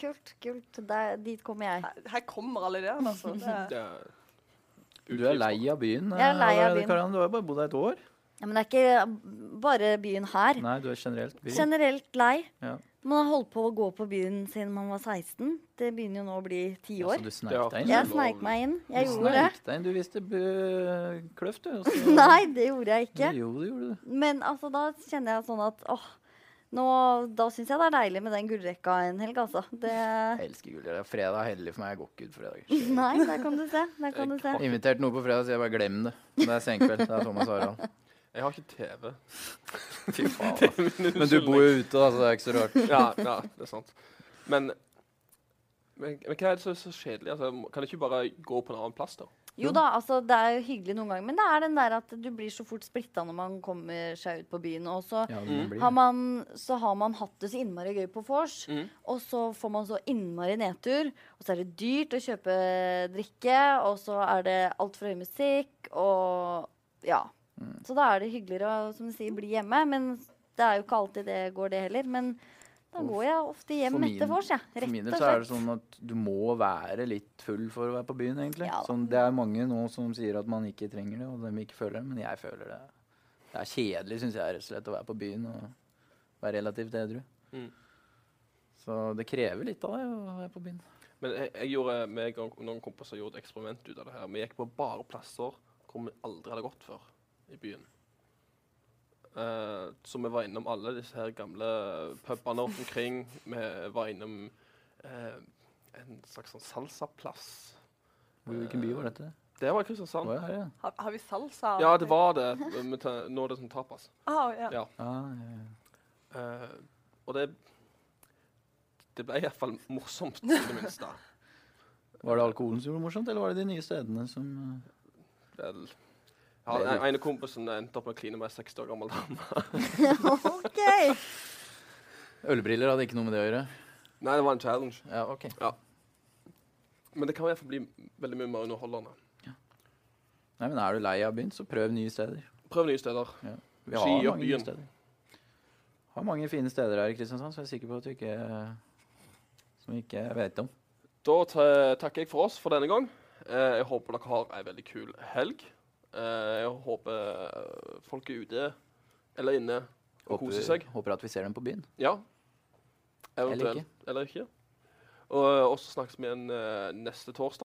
Kult, kult. Der, dit kommer jeg.
Her, her kommer alle ideene, altså. Det er,
Det er
Du er lei av byen?
Jeg er lei av
eh,
byen.
Karan, du har jo bare bodd her et år.
Ja, men det er ikke mm, bare byen her.
Nei, du er generelt by.
Generelt lei.
Ja.
Man har holdt på å gå på byen siden man var 16. Det begynner jo nå å bli ti
Ja, så
år.
Altså, du sneik deg inn?
Ja.
Jeg
du.
sneik meg inn. Jeg
Du
gjorde det.
sneik deg inn. Du visste bø- kløft, du. og så-
Nei, det gjorde jeg ikke.
Jo, det gjorde du.
Men altså, da kjenner jeg sånn at åh, nå, da syns jeg det er deilig med den gullrekka en helg, altså. Det
Jeg elsker guler. Det er Fredag er hellig for meg. Jeg går ikke ut fredager.
Nei, der kan du se. Der kan du se.
Jeg har Invitert noe på fredag, så jeg bare glem det. Det er senkveld. Det er Thomas Harald.
Jeg har ikke TV.
Fy faen. Men du bor jo ute, da, så det er ikke så rart.
ja, ja, det er sant. Men, men, men hva er det som er så kjedelig? Altså, må- kan jeg ikke bare gå på en annen plass, da?
Jo da, altså, det er jo hyggelig noen ganger, men det er den der at du blir så fort splitta når man kommer seg ut på byen. Og så
Ja, men det blir
har man, så har man hatt det så innmari gøy på vors,
Mm.
Mhm.
og så får man så innmari nedtur. Og så er det dyrt å kjøpe drikke, og så er det altfor høy musikk, og ja.
Mm.
Så da er det hyggeligere å som du sier, bli hjemme, men det er jo ikke alltid det går, det heller. Men da
Og
går jeg ofte hjem
for min-
etter vors, jeg.
For min
Rett
del
og
så er det
slett.
sånn at du må være litt full for å være på byen, egentlig.
Ja da.
Sånn, det er mange nå som sier at man ikke trenger det, og de ikke føler det, men jeg føler det. Det er kjedelig, syns jeg, rett og slett, å være på byen og være relativt edru.
Mm.
Så det krever litt av deg å være på byen.
Men jeg, jeg gjorde, meg og noen kompiser gjorde et eksperiment ut av det her. Vi gikk på bare plasser hvor vi aldri hadde gått før i byen. Eh, så vi var innom alle disse her gamle pubene rundt omkring. Vi var innom eh, en slags sånn salsaplass.
Hvor- Hvilken by var dette?
Det var i
Å,
Kristiansand.
ja, her, ja.
har, har vi salsa?
Ja, det var det. Men ta- Nå er det sånn tapas.
Ah, ja.
Ja.
Ah, ja, ja.
Eh, og det Det ble iallfall morsomt, i det minste.
Var det alkoholen som gjorde det morsomt, eller var det de nye stedene som eh,
Vel, ja, den ene kompisen endte opp med å kline med ei 60 år gammel dame.
OK!
Ølbriller hadde ikke noe med det å gjøre.
Nei, det var en challenge.
Ja, ok.
Men det kan iallfall bli veldig mye mer underholdende.
Nei, men Er du lei av byen, så prøv nye steder.
Prøv nye steder. Ski
Vi har
opp
mange nye
byen.
steder. Har mange fine steder her i Kristiansand som jeg er sikker på at du ikke Som vi ikke vet om.
Da ta takker jeg for oss for denne gang. Eh, jeg håper dere har ei veldig kul helg. Eh, jeg håper eh, folk er ute eller inne og koser seg.
håper at vi ser dem på byen.
Ja.
Eller ikke.
Eventuelt. Eller ikke. Og, og så snakkes vi igjen eh, neste torsdag.